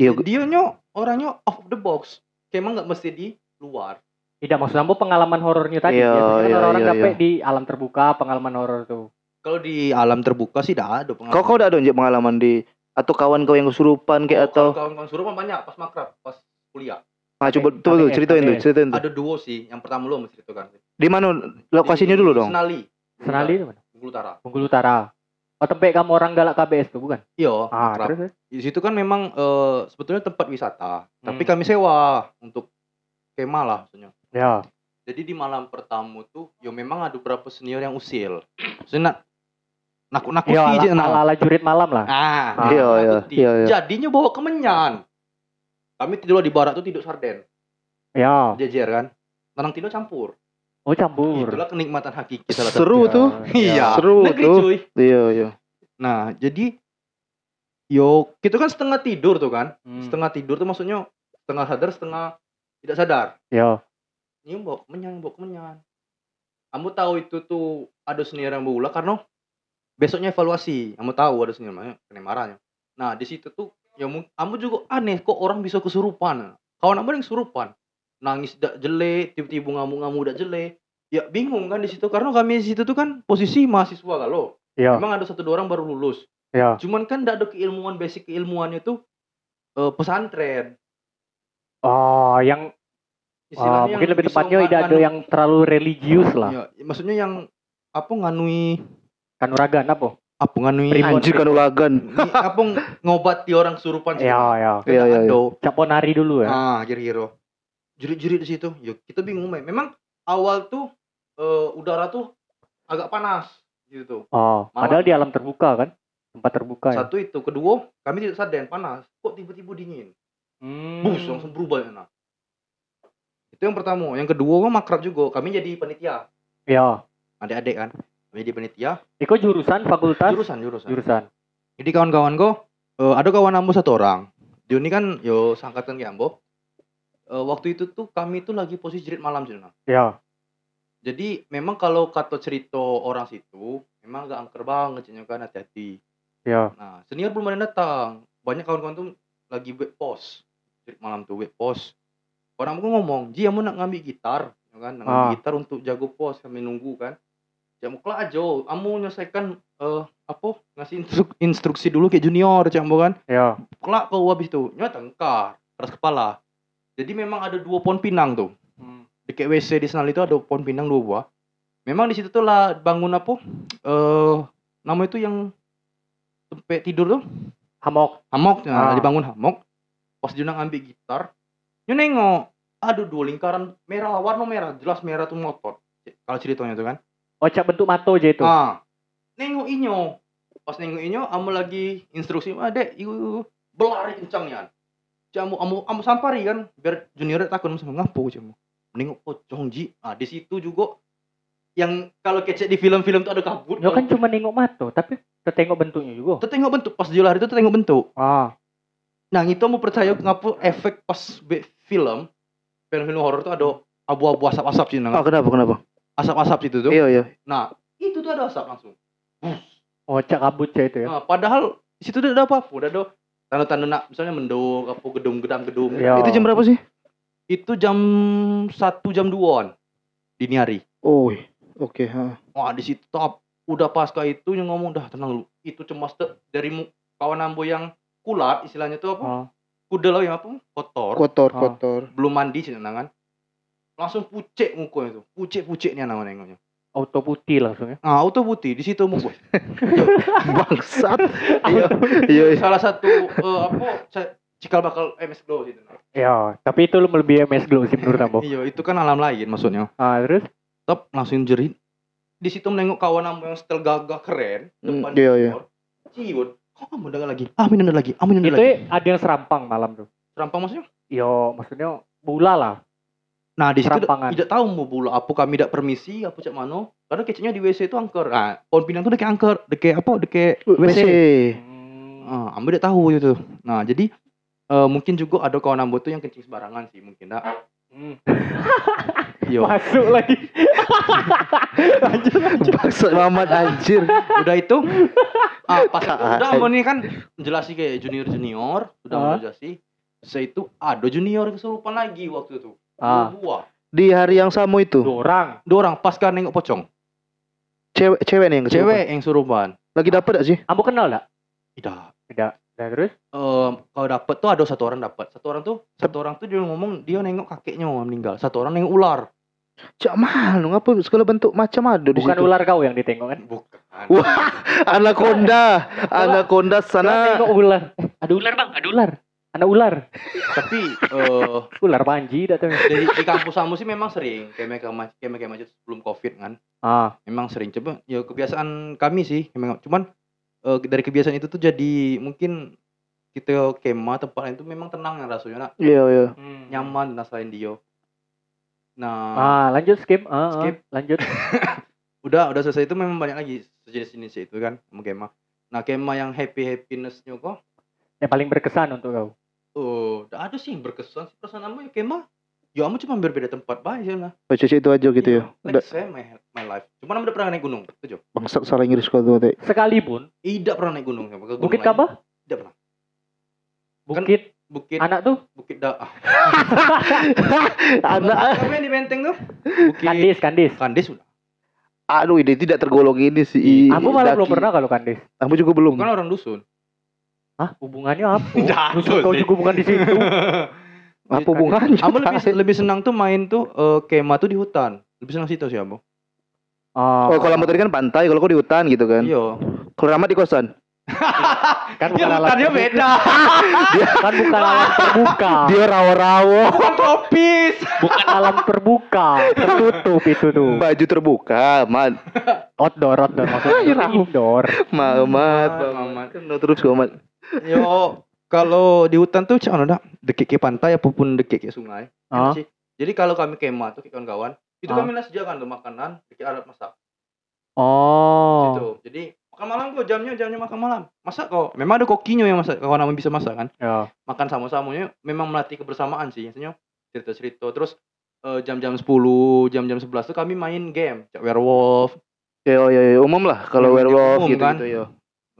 S3: Iya,
S2: dia nyok orangnya off the box kemang nggak mesti di luar
S1: Tidak maksud ambo pengalaman horornya tadi.
S3: Iya,
S1: Biasanya kan
S3: iya,
S1: orang-orang
S3: iya,
S1: dapat di alam terbuka pengalaman horor tuh.
S2: Kalau di alam terbuka sih dah ada pengalaman.
S3: Kau kau udah ada nggak pengalaman di atau kawan kau yang kesurupan kayak
S2: Kalau
S3: atau
S2: kawan-kawan suruh banyak pas makrab, pas kuliah.
S3: nah, coba
S1: KPS,
S3: coba tuh ceritain tuh
S1: KPS.
S3: ceritain tuh.
S2: Ada duo sih, yang pertama lu mesti itu kan.
S3: Di mana
S2: Di
S3: lokasinya dulu dong?
S2: Senali. Iya.
S1: Senali itu mana?
S2: Bengkulu Utara.
S1: Bengkulu Utara. Oh, tempat kamu orang galak KBS tuh bukan?
S2: Iya,
S1: Ah,
S2: makrab.
S1: terus terus.
S2: Di situ kan memang eh, sebetulnya tempat wisata, tapi
S1: Hmm.
S2: kami sewa untuk kemah lah maksudnya.
S1: Ya.
S2: Jadi di malam pertama tuh, ya memang ada beberapa senior yang usil. Maksudnya nakut-nakuti
S1: Iya,
S2: je, nah.
S1: ala, ala jurit malam lah.
S2: Ah,
S1: Ah,
S3: iya, iya,
S2: nakuti.
S3: iya, iya.
S2: Jadinya bawa kemenyan. Kami tidur di barat tuh tidur sarden,
S1: Ya.
S2: jejer kan. Tanang tidur campur.
S1: Oh, campur.
S2: Itulah kenikmatan hakiki salah satu.
S3: Seru
S1: Ya,
S3: tuh.
S1: ya.
S2: Iya.
S3: Seru
S2: Negeri,
S3: tuh.
S2: cuy.
S3: Iya, iya.
S2: Nah, jadi yo kita kan setengah tidur tuh kan.
S1: Hmm.
S2: Setengah tidur tuh maksudnya setengah sadar, setengah tidak sadar.
S1: Ya.
S2: Ini mbok menyang, mbok menyang. Kamu tahu itu tuh ada senior yang bola karena besoknya evaluasi. Kamu tahu ada senior mana kena marahnya. Nah, di situ tuh ya mu- kamu juga aneh kok orang bisa kesurupan. Kawan kamu yang kesurupan. Nangis tidak jelek, tiba-tiba ngamuk-ngamuk tidak jelek. Ya bingung kan di situ karena kami di situ tuh kan posisi mahasiswa kalau.
S1: Ya.
S2: Emang ada satu dua orang baru lulus.
S1: Ya.
S2: Cuman kan enggak ada keilmuan basic keilmuannya tuh eh, pesantren.
S1: Oh, yang ah, mungkin
S2: yang
S1: lebih
S2: bisa
S1: tepatnya tidak ada
S2: nganu-
S1: yang terlalu religius lah.
S2: Ya, maksudnya yang apa nganui
S1: Kanuragan apa?
S2: apa nganui
S1: Primbon.
S3: Anjir kan ulagan.
S2: Ni- apa ng- ngobati orang surupan
S1: Ya, ya.
S3: Iya, iya, iya.
S1: Caponari dulu ya.
S2: Ah, kira-kira. Jerit-jerit di situ. Yo, kita bingung, Mai. Memang awal tuh eh, udara tuh agak panas gitu tuh.
S1: Oh, padahal di alam terbuka kan? Tempat terbuka ya.
S2: Satu itu, kedua, kami tidak sadar panas. Kok tiba-tiba dingin?
S1: Hmm.
S2: bus langsung berubah enak itu yang pertama yang kedua kan makrab juga kami jadi panitia
S1: Ya.
S2: adik-adik kan kami jadi panitia
S1: Iko jurusan fakultas
S2: jurusan jurusan
S1: jurusan.
S2: jadi kawan-kawan go eh, ada kawan ambo satu orang dia ini kan yo sangkatan kayak ambo Eh, waktu itu tuh kami tuh lagi posisi jerit malam sih Nah.
S1: Ya.
S2: jadi memang kalau kata cerita orang situ memang agak angker banget Cina, kan hati-hati
S1: Ya.
S2: Nah, senior belum ada yang datang. Banyak kawan-kawan tuh lagi web post. Jadi Malam tuh web post. Orang aku ngomong, Ji, kamu nak ngambil gitar. Ya kan? Nak ngambil
S1: Ah.
S2: gitar untuk jago pos. Kami nunggu kan. Ya mau kelak aja. Kamu menyelesaikan eh, apa? Ngasih instru- instruksi dulu ke junior. Cakap kan.
S1: Ya.
S2: Kelak kau habis tuh. Nyata tengkar. Keras kepala. Jadi memang ada dua pohon pinang tuh.
S1: Hmm.
S2: Di Dekat WC di Senal itu ada pohon pinang dua buah. Memang di situ tuh lah bangun apa? Eh nama itu yang tempat tidur tuh
S1: Hamok.
S2: hamok,
S1: Ah.
S2: nah, dibangun hamok. Pas Junang ambil gitar, nyu nengok, aduh dua lingkaran merah, warna merah, jelas merah tuh motor. Kalau ceritanya tuh kan.
S1: Ocak bentuk mato aja itu.
S2: Ah. Nengok inyo. Pas nengok inyo, amu lagi instruksi, ah dek, iu belari kencangnya. Jamu, amu, amu sampari kan, biar junior takut sama ngapo jamu. Nengok pocong ji, ah di situ juga yang kalau kecek di film-film tuh ada kabut.
S1: Yo kan cuma nengok mato, tapi tertengok bentuknya juga.
S2: Tuh tengok bentuk pas dia lari itu tuh tengok bentuk.
S1: Ah,
S2: Nah itu mau percaya ngapo efek pas be- film film-film horor tuh ada abu-abu asap-asap sih nang
S3: Oh, kenapa kenapa?
S2: asap-asap itu tuh.
S3: Iya iya.
S2: Nah itu tuh ada asap langsung.
S1: ocak kabut aja itu ya.
S2: Nah, padahal di situ tuh ada apa? Udah ada tanda-tanda nak misalnya mendung apa gedung gedang gedung.
S1: Iya.
S3: Itu jam berapa sih?
S2: Itu jam satu jam duaan dini hari.
S3: Oh, oke. ha.
S2: Wah di situ top. Udah pasca itu yang ngomong dah tenang lu. Itu cemas tuh dari mu- kawan ambo yang kulat istilahnya tuh apa?
S1: Ah.
S2: Kuda lo yang apa? Kotor.
S3: Kotor
S1: Ah.
S3: kotor.
S2: belum mandi sih kan langsung pucek mukanya itu pucek puceknya nama nengoknya
S1: Auto putih langsung ya.
S2: nah auto putih di situ muka
S3: Bangsat. Iya iya. iya.
S2: salah satu eh, apa sa- cikal bakal MS Glow gitu nah.
S1: Ya, tapi itu lebih MS Glow sih menurut Ambo.
S2: iya itu kan alam lain maksudnya
S1: Ah, terus
S2: tetap langsung jerit di situ menengok kawan kamu yang setel gagah keren depan
S3: Hmm, iya, iya.
S2: motor. ciut kok kamu dengar lagi ah minum lagi ah minum
S1: itu ya?
S2: lagi
S1: ada yang serampang malam tuh.
S2: serampang maksudnya
S1: Yo, maksudnya bola lah.
S2: nah di situ
S1: Serampangan.
S2: tidak tahu mau bulu apa kami tidak permisi apa cak mano karena kecilnya di WC itu angker nah pohon pinang itu deke angker deke apa deke
S3: WC.
S2: Iya.
S1: Hmm.
S2: Ah, ambil dia tahu itu. Nah, jadi eh, mungkin juga ada kawan ambo tuh yang kencing sembarangan sih mungkin dah.
S1: Hmm.
S2: Yo.
S1: Masuk lagi.
S3: Bangsat Mamat anjir.
S2: Udah itu ah, pas itu
S3: Kak.
S2: udah ambo nih kan jelasin kayak junior junior, udah
S1: Ah.
S2: mau jelasin. Saya itu ada junior yang kesurupan lagi waktu itu. Dua
S1: Ah,
S2: buah.
S3: Di hari yang sama itu,
S1: dua orang.
S2: Dua orang pasca nengok pocong.
S3: cewek cewek nih yang kesurupan?
S2: Cewek yang surupan.
S3: Lagi dapat gak sih?
S1: Ambo kenal enggak?
S2: Tidak.
S1: Nah, terus
S2: Em, kalau dapat tuh ada satu orang dapat. Satu orang tuh satu orang tuh dia ngomong dia nengok kakeknya mau meninggal. Satu orang nengok ular.
S3: Cak mahal, ngapa segala bentuk macam ada di
S1: bukan
S3: situ.
S1: ular kau yang ditengok kan?
S2: Bukan.
S3: Wah, anaconda, anaconda
S1: Kau
S3: sana.
S1: tengok ular.
S4: Ada ular bang, ada
S1: Ada
S4: ular.
S1: ular. Ada ular.
S2: Tapi eh
S1: Ular panji datang.
S2: dari di kampus kamu sih memang sering kemek kemek kemek kemek macet sebelum covid kan
S1: Ah,
S2: memang sering coba ya kebiasaan kami sih memang cuman eh, dari kebiasaan itu tuh jadi mungkin kita kema tempat lain tuh memang tenang ya rasanya nak
S3: Iya iya.
S2: Hmm, nyaman dan selain dia nah
S1: ah lanjut skip. Ah, ah,
S2: Skip.
S1: lanjut.
S2: udah udah selesai itu memang banyak lagi sejenis jenis itu kan sama kema nah kema yang happy happinessnya kok
S1: Yang paling berkesan untuk kau.
S2: oh udah ada sih yang berkesan sih perasaan kamu ya kema ya kamu cuma berbeda tempat aja lah
S3: Oh, cewek itu aja gitu ya. Udah
S2: like saya my, my life cuman kamu udah pernah naik gunung itu Jo?
S3: bangsat salah Inggris kau tuh. Teh.
S1: Sekalipun
S2: tidak pernah naik gunung Ke gunung
S1: Bukit
S2: lain.
S1: apa?
S2: Tidak pernah. Kan-
S1: Bukit
S2: Bukit
S1: anak tuh
S2: Bukit Da. Ah,
S3: Anak
S2: Apa yang di Menteng tuh? Bukit
S1: Kandis, Kandis.
S2: Kandis sudah.
S3: aduh ini tidak tergolong ini sih.
S1: Aku malah
S3: Daki.
S1: belum pernah kalau Kandis.
S3: Aku juga belum.
S2: Bukan orang dusun.
S1: Hah, hubungannya apa?
S2: Jatuh
S1: Lu kau
S2: sih.
S1: juga bukan di situ.
S3: Apa hubungannya?
S2: Ambo lebih lebih senang tuh main tuh eh, kema tuh di hutan. Lebih senang situ sih Ambo.
S1: Ah,
S3: Oh, kalau mau tadi kan pantai, kalau kau di hutan gitu kan.
S2: Iya.
S3: Kalau Rahmat di kosan.
S1: kan bukan
S2: Iya,
S1: alam
S2: hutannya beda.
S1: kan bukan alam terbuka.
S3: Dia rawo-rawo,
S2: Bukan topis.
S1: Bukan alam terbuka, tertutup itu tuh.
S3: baju terbuka, mat,
S1: Outdoor, outdoor maksudnya. Indoor.
S3: mamat,
S2: Mamat.
S3: mamat. Kena terus kau mat.
S2: Yo, kalau di hutan tuh cak ada dekik ke pantai apapun dekik ke sungai.
S1: Ah.
S2: Enak sih. Jadi kalau kami kema tuh kawan-kawan, itu
S1: Ah.
S2: kami sediakan tuh makanan, dekik alat masak.
S1: Oh.
S2: Situ. Jadi makan malam kok jamnya jamnya makan malam. Masak kok. Memang ada kokinya yang masak kawan kamu bisa masak kan.
S1: Ya.
S2: Makan sama-samanya memang melatih kebersamaan sih biasanya cerita-cerita terus eh, jam-jam 10, jam-jam 11 tuh kami main game, Cak werewolf.
S3: Yo yo yo ya, umum lah kalau
S2: Umum,
S3: werewolf
S2: umum
S3: gitu
S2: kan?
S3: gitu yo.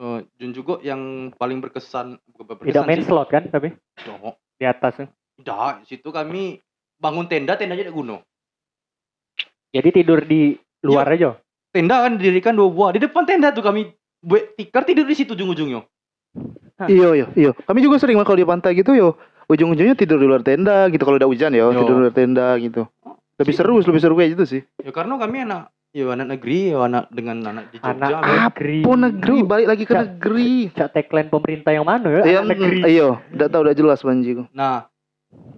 S2: Eh, dan juga yang paling berkesan bukan
S1: Tidak
S2: berkesan
S1: main
S2: sih.
S1: slot kan tapi
S2: Tidak.
S1: di atas.
S2: Tidak, di situ kami bangun tenda, tendanya di gunung.
S1: Jadi tidur di luar
S2: Iya.
S1: aja.
S2: Tenda kan didirikan dua buah. Di depan tenda tuh kami buat tikar tidur di situ ujung-ujungnya.
S3: Iyo yo yo. Iya, Kami juga sering mah kalau di pantai gitu yo. Ujung-ujungnya tidur di luar tenda gitu kalau udah hujan yo,
S2: Yo.
S3: tidur di luar tenda gitu. lebih seru lebih seru kayak gitu sih
S2: Ya karena kami anak ya anak negeri, ya anak dengan anak di Jogja.
S1: anak
S2: men.
S1: negeri
S3: oh negeri
S1: Duh,
S3: balik lagi ke
S1: Ya.
S3: negeri
S1: cak tagline pemerintah yang mana ya
S3: iya
S1: anak negeri
S3: iyo nggak tahu udah jelas banjiku
S2: Nah,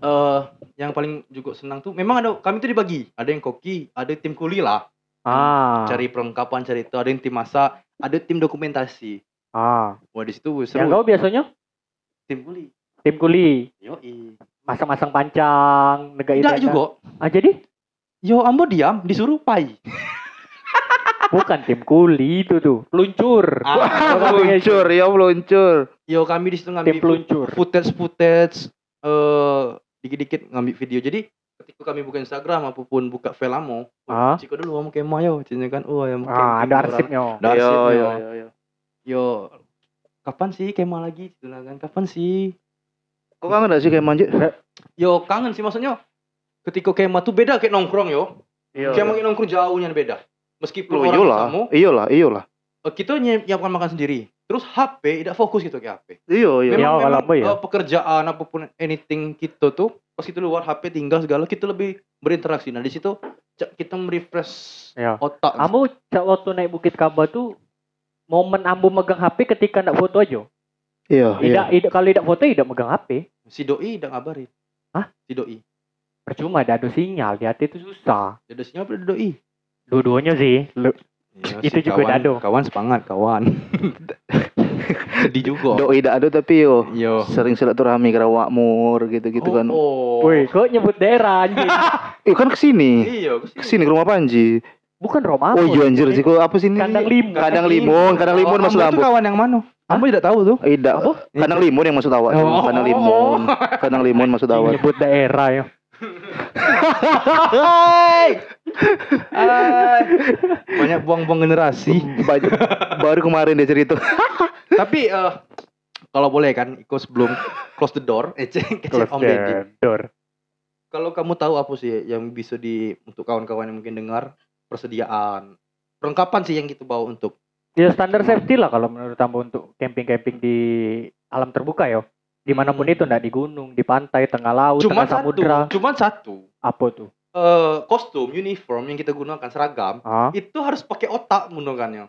S2: eh yang paling juga senang tuh memang ada kami tuh dibagi. Ada yang koki, ada tim kuli lah,
S1: ah
S2: cari perlengkapan, cari itu, ada yang tim masak, ada tim dokumentasi.
S1: ah
S2: Wah, di situ
S1: yang
S2: seru.
S1: kau biasanya
S2: tim kuli.
S1: tim kuli
S2: Yoi.
S1: masang-masang pancang negara
S2: Tidak juga.
S1: ah jadi
S2: Yo ambo diam, disuruh pai.
S1: bukan tim kuli itu tuh peluncur
S2: Ah,
S1: Wah.
S3: meluncur ya meluncur
S2: yo kami di situ
S1: tim
S2: ngambil
S1: peluncur
S2: footage footage eh dikit-dikit ngambil video. Jadi ketika kami buka Instagram apapun buka Velamo,
S1: Ah.
S2: Ciko dulu mau kemo yo, Cinya kan, oh ya mungkin.
S1: ah ada arsipnya
S2: Ada
S3: Yo,
S2: arsipnya.
S3: yo, yo, yo.
S2: yo kapan sih kema lagi gitu lah kan kapan sih
S3: kok kangen gak sih kayak manjut
S2: yo kangen sih maksudnya ketika kema tuh beda kayak nongkrong yo
S1: Iya,
S2: kema kayak nongkrong jauhnya beda
S1: Oh,
S2: meskipun
S3: Lo
S2: orang
S3: iyo lah,
S2: kamu
S3: iyo lah, iyo lah,
S2: kita nyiapkan makan sendiri terus HP tidak fokus gitu ke HP
S3: iyo iyo.
S1: Iya, kalau apa ya?
S2: eh, pekerjaan apapun anything kita tuh pas kita luar HP tinggal segala kita lebih berinteraksi nah di situ cak, kita merefresh
S1: Iya.
S2: otak
S1: Ambo cak waktu naik Bukit Kaba tuh momen Ambo megang HP ketika ndak foto aja.
S3: Iya, iya.
S1: Tidak, tidak kalau tidak foto tidak megang HP.
S2: si doi tidak ngabarin
S1: Hah?
S2: si doi
S1: Percuma ada ada sinyal di hati itu susah.
S2: ada sinyal pada doi
S1: Dua-duanya sih. Lu-
S2: Iya
S1: Itu
S2: sih,
S1: juga
S2: kawan,
S1: dado.
S2: Kawan semangat kawan. Sedih juga.
S3: Doi dak ada tapi yo
S2: Yo.
S3: sering silaturahmi ke Rawakmur
S1: Gitu
S3: gitu-gitu kan.
S2: Oh. oh.
S1: Woi, kok nyebut daerah anjing?
S3: Eh kan kesini,
S2: Iya, kesini.
S3: kesini ke rumah Panji.
S1: Bukan Romawi.
S3: Oh iya anjir sih kok apa sini?
S1: Kandang limun.
S3: Kadang limun, kadang limun
S2: Ambo
S3: masuk
S2: itu
S3: lambung.
S2: kawan yang mana? Ambo tidak tahu tuh.
S3: Eh, dak.
S1: Apa?
S3: Kadang limun yang masuk awak. tuh.
S2: Oh.
S3: Kadang limun, kadang limun masuk
S1: Anjing,
S3: awak.
S1: Nyebut daerah ya.
S2: Hai. Hai. Banyak buang-buang generasi.
S3: Ba- Baru kemarin dia cerita.
S2: Tapi eh kalau boleh kan, Iko sebelum close the door, eh cek cek Om Deddy.
S1: Door.
S2: Kalau kamu tahu apa sih yang bisa di untuk kawan-kawan yang mungkin dengar persediaan perlengkapan sih yang kita bawa untuk
S1: Ya standar safety lah kalau menurut Ambo untuk camping-camping di alam terbuka ya.
S3: Hmm.
S1: Dimanapun itu ndak di gunung, di pantai, tengah laut,
S2: cuma
S1: tengah samudra.
S2: satu, cuma satu.
S1: Apa tuh?
S2: eh kostum, uniform yang kita gunakan seragam
S1: Ah.
S2: itu harus pakai otak menggunakannya.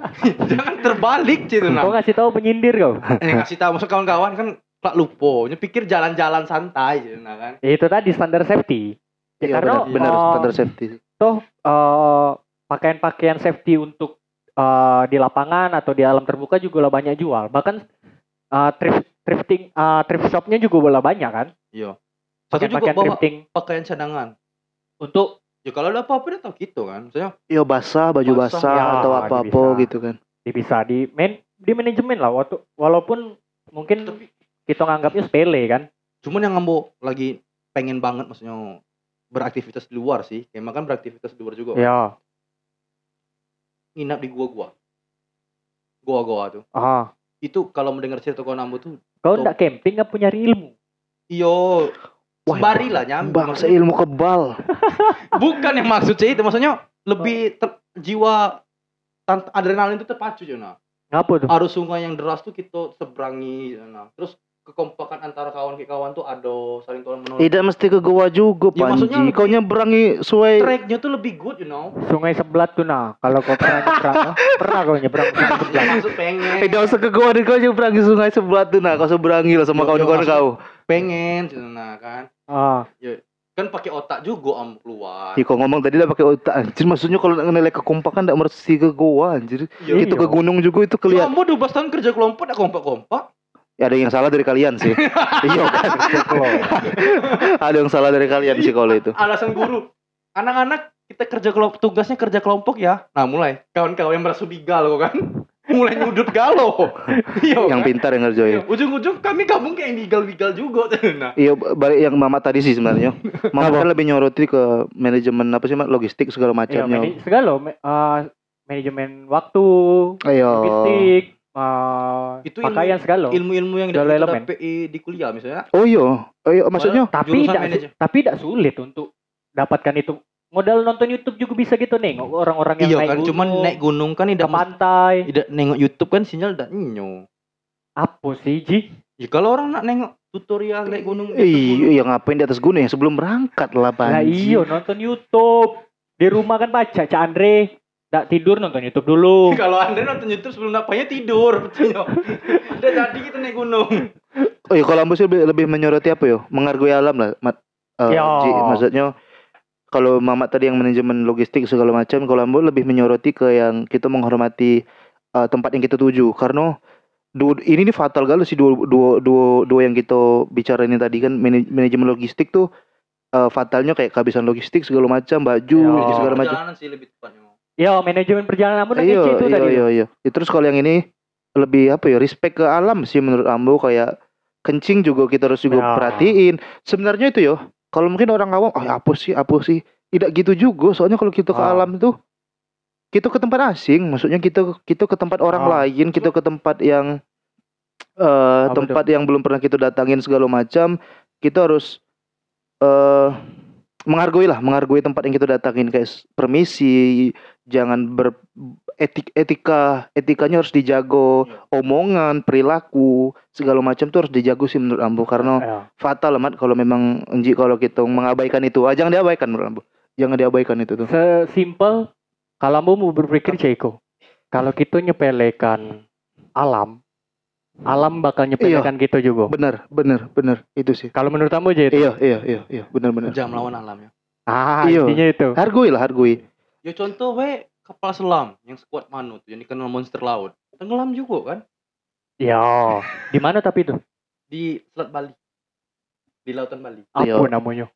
S2: Jangan terbalik gitu
S1: Kau
S2: nah.
S1: ngasih tahu penyindir kau?
S2: Eh, ngasih tahu maksud kawan-kawan kan tak lupa, Dia pikir jalan-jalan santai gitu nah kan.
S1: Ya, itu tadi standar safety. Ya,
S3: Iya
S1: karena
S3: benar, benar
S1: eh,
S3: standar safety.
S1: eh, pakaian-pakaian safety untuk eh, di lapangan atau di alam terbuka juga lah banyak jual. Bahkan eh, thrift thrifting eh, thrift shopnya juga lah banyak kan.
S2: Iya. Satu juga
S1: Pakaian-pakaian
S2: bawa
S1: thrifting
S2: pakaian cadangan.
S1: untuk
S2: Ya kalau ada apa-apa dia tahu gitu kan. Misalnya
S3: Iya basah, baju
S2: Basah.
S3: basah
S1: Ya,
S3: atau
S1: dia
S3: apa-apa
S1: bisa.
S3: gitu kan.
S1: bisa di main di manajemen lah waktu walaupun mungkin
S2: tapi
S1: kita nganggapnya sepele kan.
S2: cuman yang ngambo lagi pengen banget maksudnya beraktivitas di luar sih. Kayak makan beraktivitas di luar juga.
S3: Iya.
S1: Ya.
S2: Nginap di gua-gua. Gua-gua tuh.
S1: Ah.
S2: Itu kalau mendengar cerita kawan Ambo tuh,
S1: Kau
S2: Tuh.
S1: ndak camping nggak punya ilmu.
S2: iyo
S3: Wah,
S2: sembari lah nyambung.
S3: Bangsa ilmu kebal.
S2: Hmm. Bukan yang maksudnya itu, maksudnya lebih ter- jiwa tan- adrenalin itu terpacu Jona.
S1: Ngapa tuh?
S2: Arus sungai yang deras tuh kita seberangi Jona. Terus kekompakan antara kawan ke kawan tuh ada saling tolong menolong.
S3: Tidak mesti ke goa
S2: Ya,
S3: juga Panji.
S2: maksudnya
S3: Kau nyeberangi suai
S2: Tracknya tuh lebih good, you know.
S1: Sungai sebelat tuh nah. Kalau kau pernah nyebrang, ah, pernah kau nyebrang sungai
S2: Ya,
S1: sebelat.
S2: maksud pengen,
S3: Eh, gak usah ke gua deh, kau nyeberangi sungai sebelah tuh nah, kau seberangi lah
S2: Yo,
S3: sama
S2: yo,
S3: kawan-kawan
S2: masuk.
S3: kau.
S2: pengen, Jona kan.
S1: Ah.
S2: Kan pakai otak juga om keluar.
S3: Ih, kau ngomong tadi lah pakai otak anjir, maksudnya kalau nak nilai kekompakan tidak mesti ke gua anjir.
S2: Yo.
S3: Itu ke gunung juga itu kelihatan.
S2: Kamu 12 tahun kerja kelompok, gak kompak-kompak.
S3: Ya, ada yang salah dari kalian sih. iya kan? ada yang salah dari kalian sih kalau itu.
S2: Alasan guru, anak-anak kita kerja kelompok, tugasnya kerja kelompok ya. Nah mulai, kawan-kawan yang merasa bigal kok kan. Mulai nyudut galau. Iya
S3: Yang
S2: kan?
S3: pintar yang ngerjain.
S2: Iya, Ujung-ujung kami gabung kayak bigal-bigal juga. Nah,
S3: Iya, balik yang Mama tadi sih sebenarnya. Mama kan lebih nyoroti ke manajemen apa sih, Mak? logistik segala
S1: Iya,
S3: macamnya.
S1: mani- segala me- eh, manajemen waktu,
S3: Ayo.
S1: logistik, eh,
S2: Oh. Itu ilmu-
S1: pakaian segala.
S2: ilmu-ilmu yang
S1: Dalam
S2: kita
S1: elemen.
S2: dapat i- di kuliah misalnya.
S3: Oh iya. Oh iya, maksudnya
S1: tapi
S2: jurusan
S1: tidak
S2: manajer.
S1: tapi tidak sulit untuk dapatkan itu. Modal nonton YouTube juga bisa gitu nengok orang-orang yang
S2: Iya
S1: naik
S2: kan,
S1: gunung,
S2: cuman naik gunung kan
S1: ke
S2: tidak
S1: pantai.
S2: tidak nengok YouTube kan sinyal dan nyo.
S1: Apa sih, Ji?
S2: Ya, kalau orang nak nengok tutorial naik gunung di atas gunung.
S3: Iya, ngapain di atas gunung ya? Sebelum berangkat lah,
S1: Lah iya,
S3: Panji.
S1: iyo nonton YouTube. Di rumah kan baca Cak Andre. Nggak tidur nonton YouTube dulu.
S2: Kalau Andre nonton YouTube sebelum napanya tidur, betulnya. Udah tadi kita naik gunung.
S3: Oh iya, kalau Ambus lebih, lebih menyoroti apa yo? Menghargai alam lah, Mat. Eh,
S1: Yo.
S3: Ji, maksudnya kalau Mamat tadi yang manajemen logistik segala macam, kalau Ambus lebih menyoroti ke yang kita menghormati eh, tempat yang kita tuju. Karena du- ini nih fatal kali sih dua, dua, dua, dua yang kita bicarain ini tadi kan mane- manajemen logistik tuh eh, fatalnya kayak kehabisan logistik segala macam, baju
S1: Yo.
S3: Nah, segala macam.
S2: Perjalanan sih lebih tepatnya.
S1: Yo Ya, manajemen perjalanan kamu udah
S3: Iya,
S1: ngece itu
S3: iya,
S1: tadi.
S3: iya, iya. Ya, terus kalau yang ini lebih apa ya? Respect ke alam sih menurut Ambo kayak kencing juga kita harus juga
S1: Ya.
S3: perhatiin. Sebenarnya itu yo, kalau mungkin orang awam, oh apa sih, apa sih? Tidak gitu juga, soalnya kalau kita ke
S1: Ah.
S3: alam itu kita ke tempat asing, maksudnya kita kita ke tempat orang
S1: Ah.
S3: lain, kita ke tempat yang eh
S1: Apa
S3: tempat yang belum pernah kita datangin segala macam, kita harus eh menghargai lah, menghargai tempat yang kita datangin kayak s- permisi, jangan ber etik etika etikanya harus dijago
S1: Iya.
S3: omongan perilaku segala macam tuh harus dijago sih menurut Ambo karena
S1: Iya.
S3: fatal amat kalau memang Enji kalau kita mengabaikan itu ah, jangan diabaikan menurut Ambo jangan diabaikan itu tuh
S1: Sesimpel kalau kamu mau berpikir Ceko, kalau kita nyepelekan alam, alam bakal
S2: Iya.
S1: nyepelekan kita juga.
S3: benar benar benar itu sih
S1: Kalau menurut kamu aja itu.
S3: iya iya iya iya benar benar
S2: Jangan melawan alam ya.
S1: Ah,
S3: Iya.
S1: intinya itu.
S3: hargai lah hargai
S2: Ya contoh we kapal selam yang sekuat Manu tuh yang dikenal monster laut. Tenggelam juga kan
S1: Iya. Di mana tapi itu?
S2: di Selat Bali. Di lautan Bali.
S1: Apa
S3: Iya.
S1: namanya?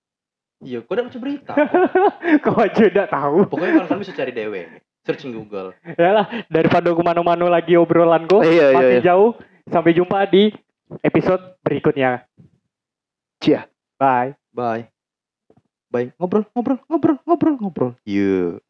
S2: Iya, kau udah baca berita.
S1: Kau aja enggak tahu.
S2: Pokoknya kan bisa cari dewe. Searching Google.
S1: Yalah, daripada aku manu-manu lagi obrolanku
S3: iya iya
S1: masih
S3: iya
S1: jauh. Sampai jumpa di episode berikutnya.
S3: Cia.
S1: Bye.
S2: Bye. Bye. Ngobrol, ngobrol, ngobrol, ngobrol, ngobrol. Iya.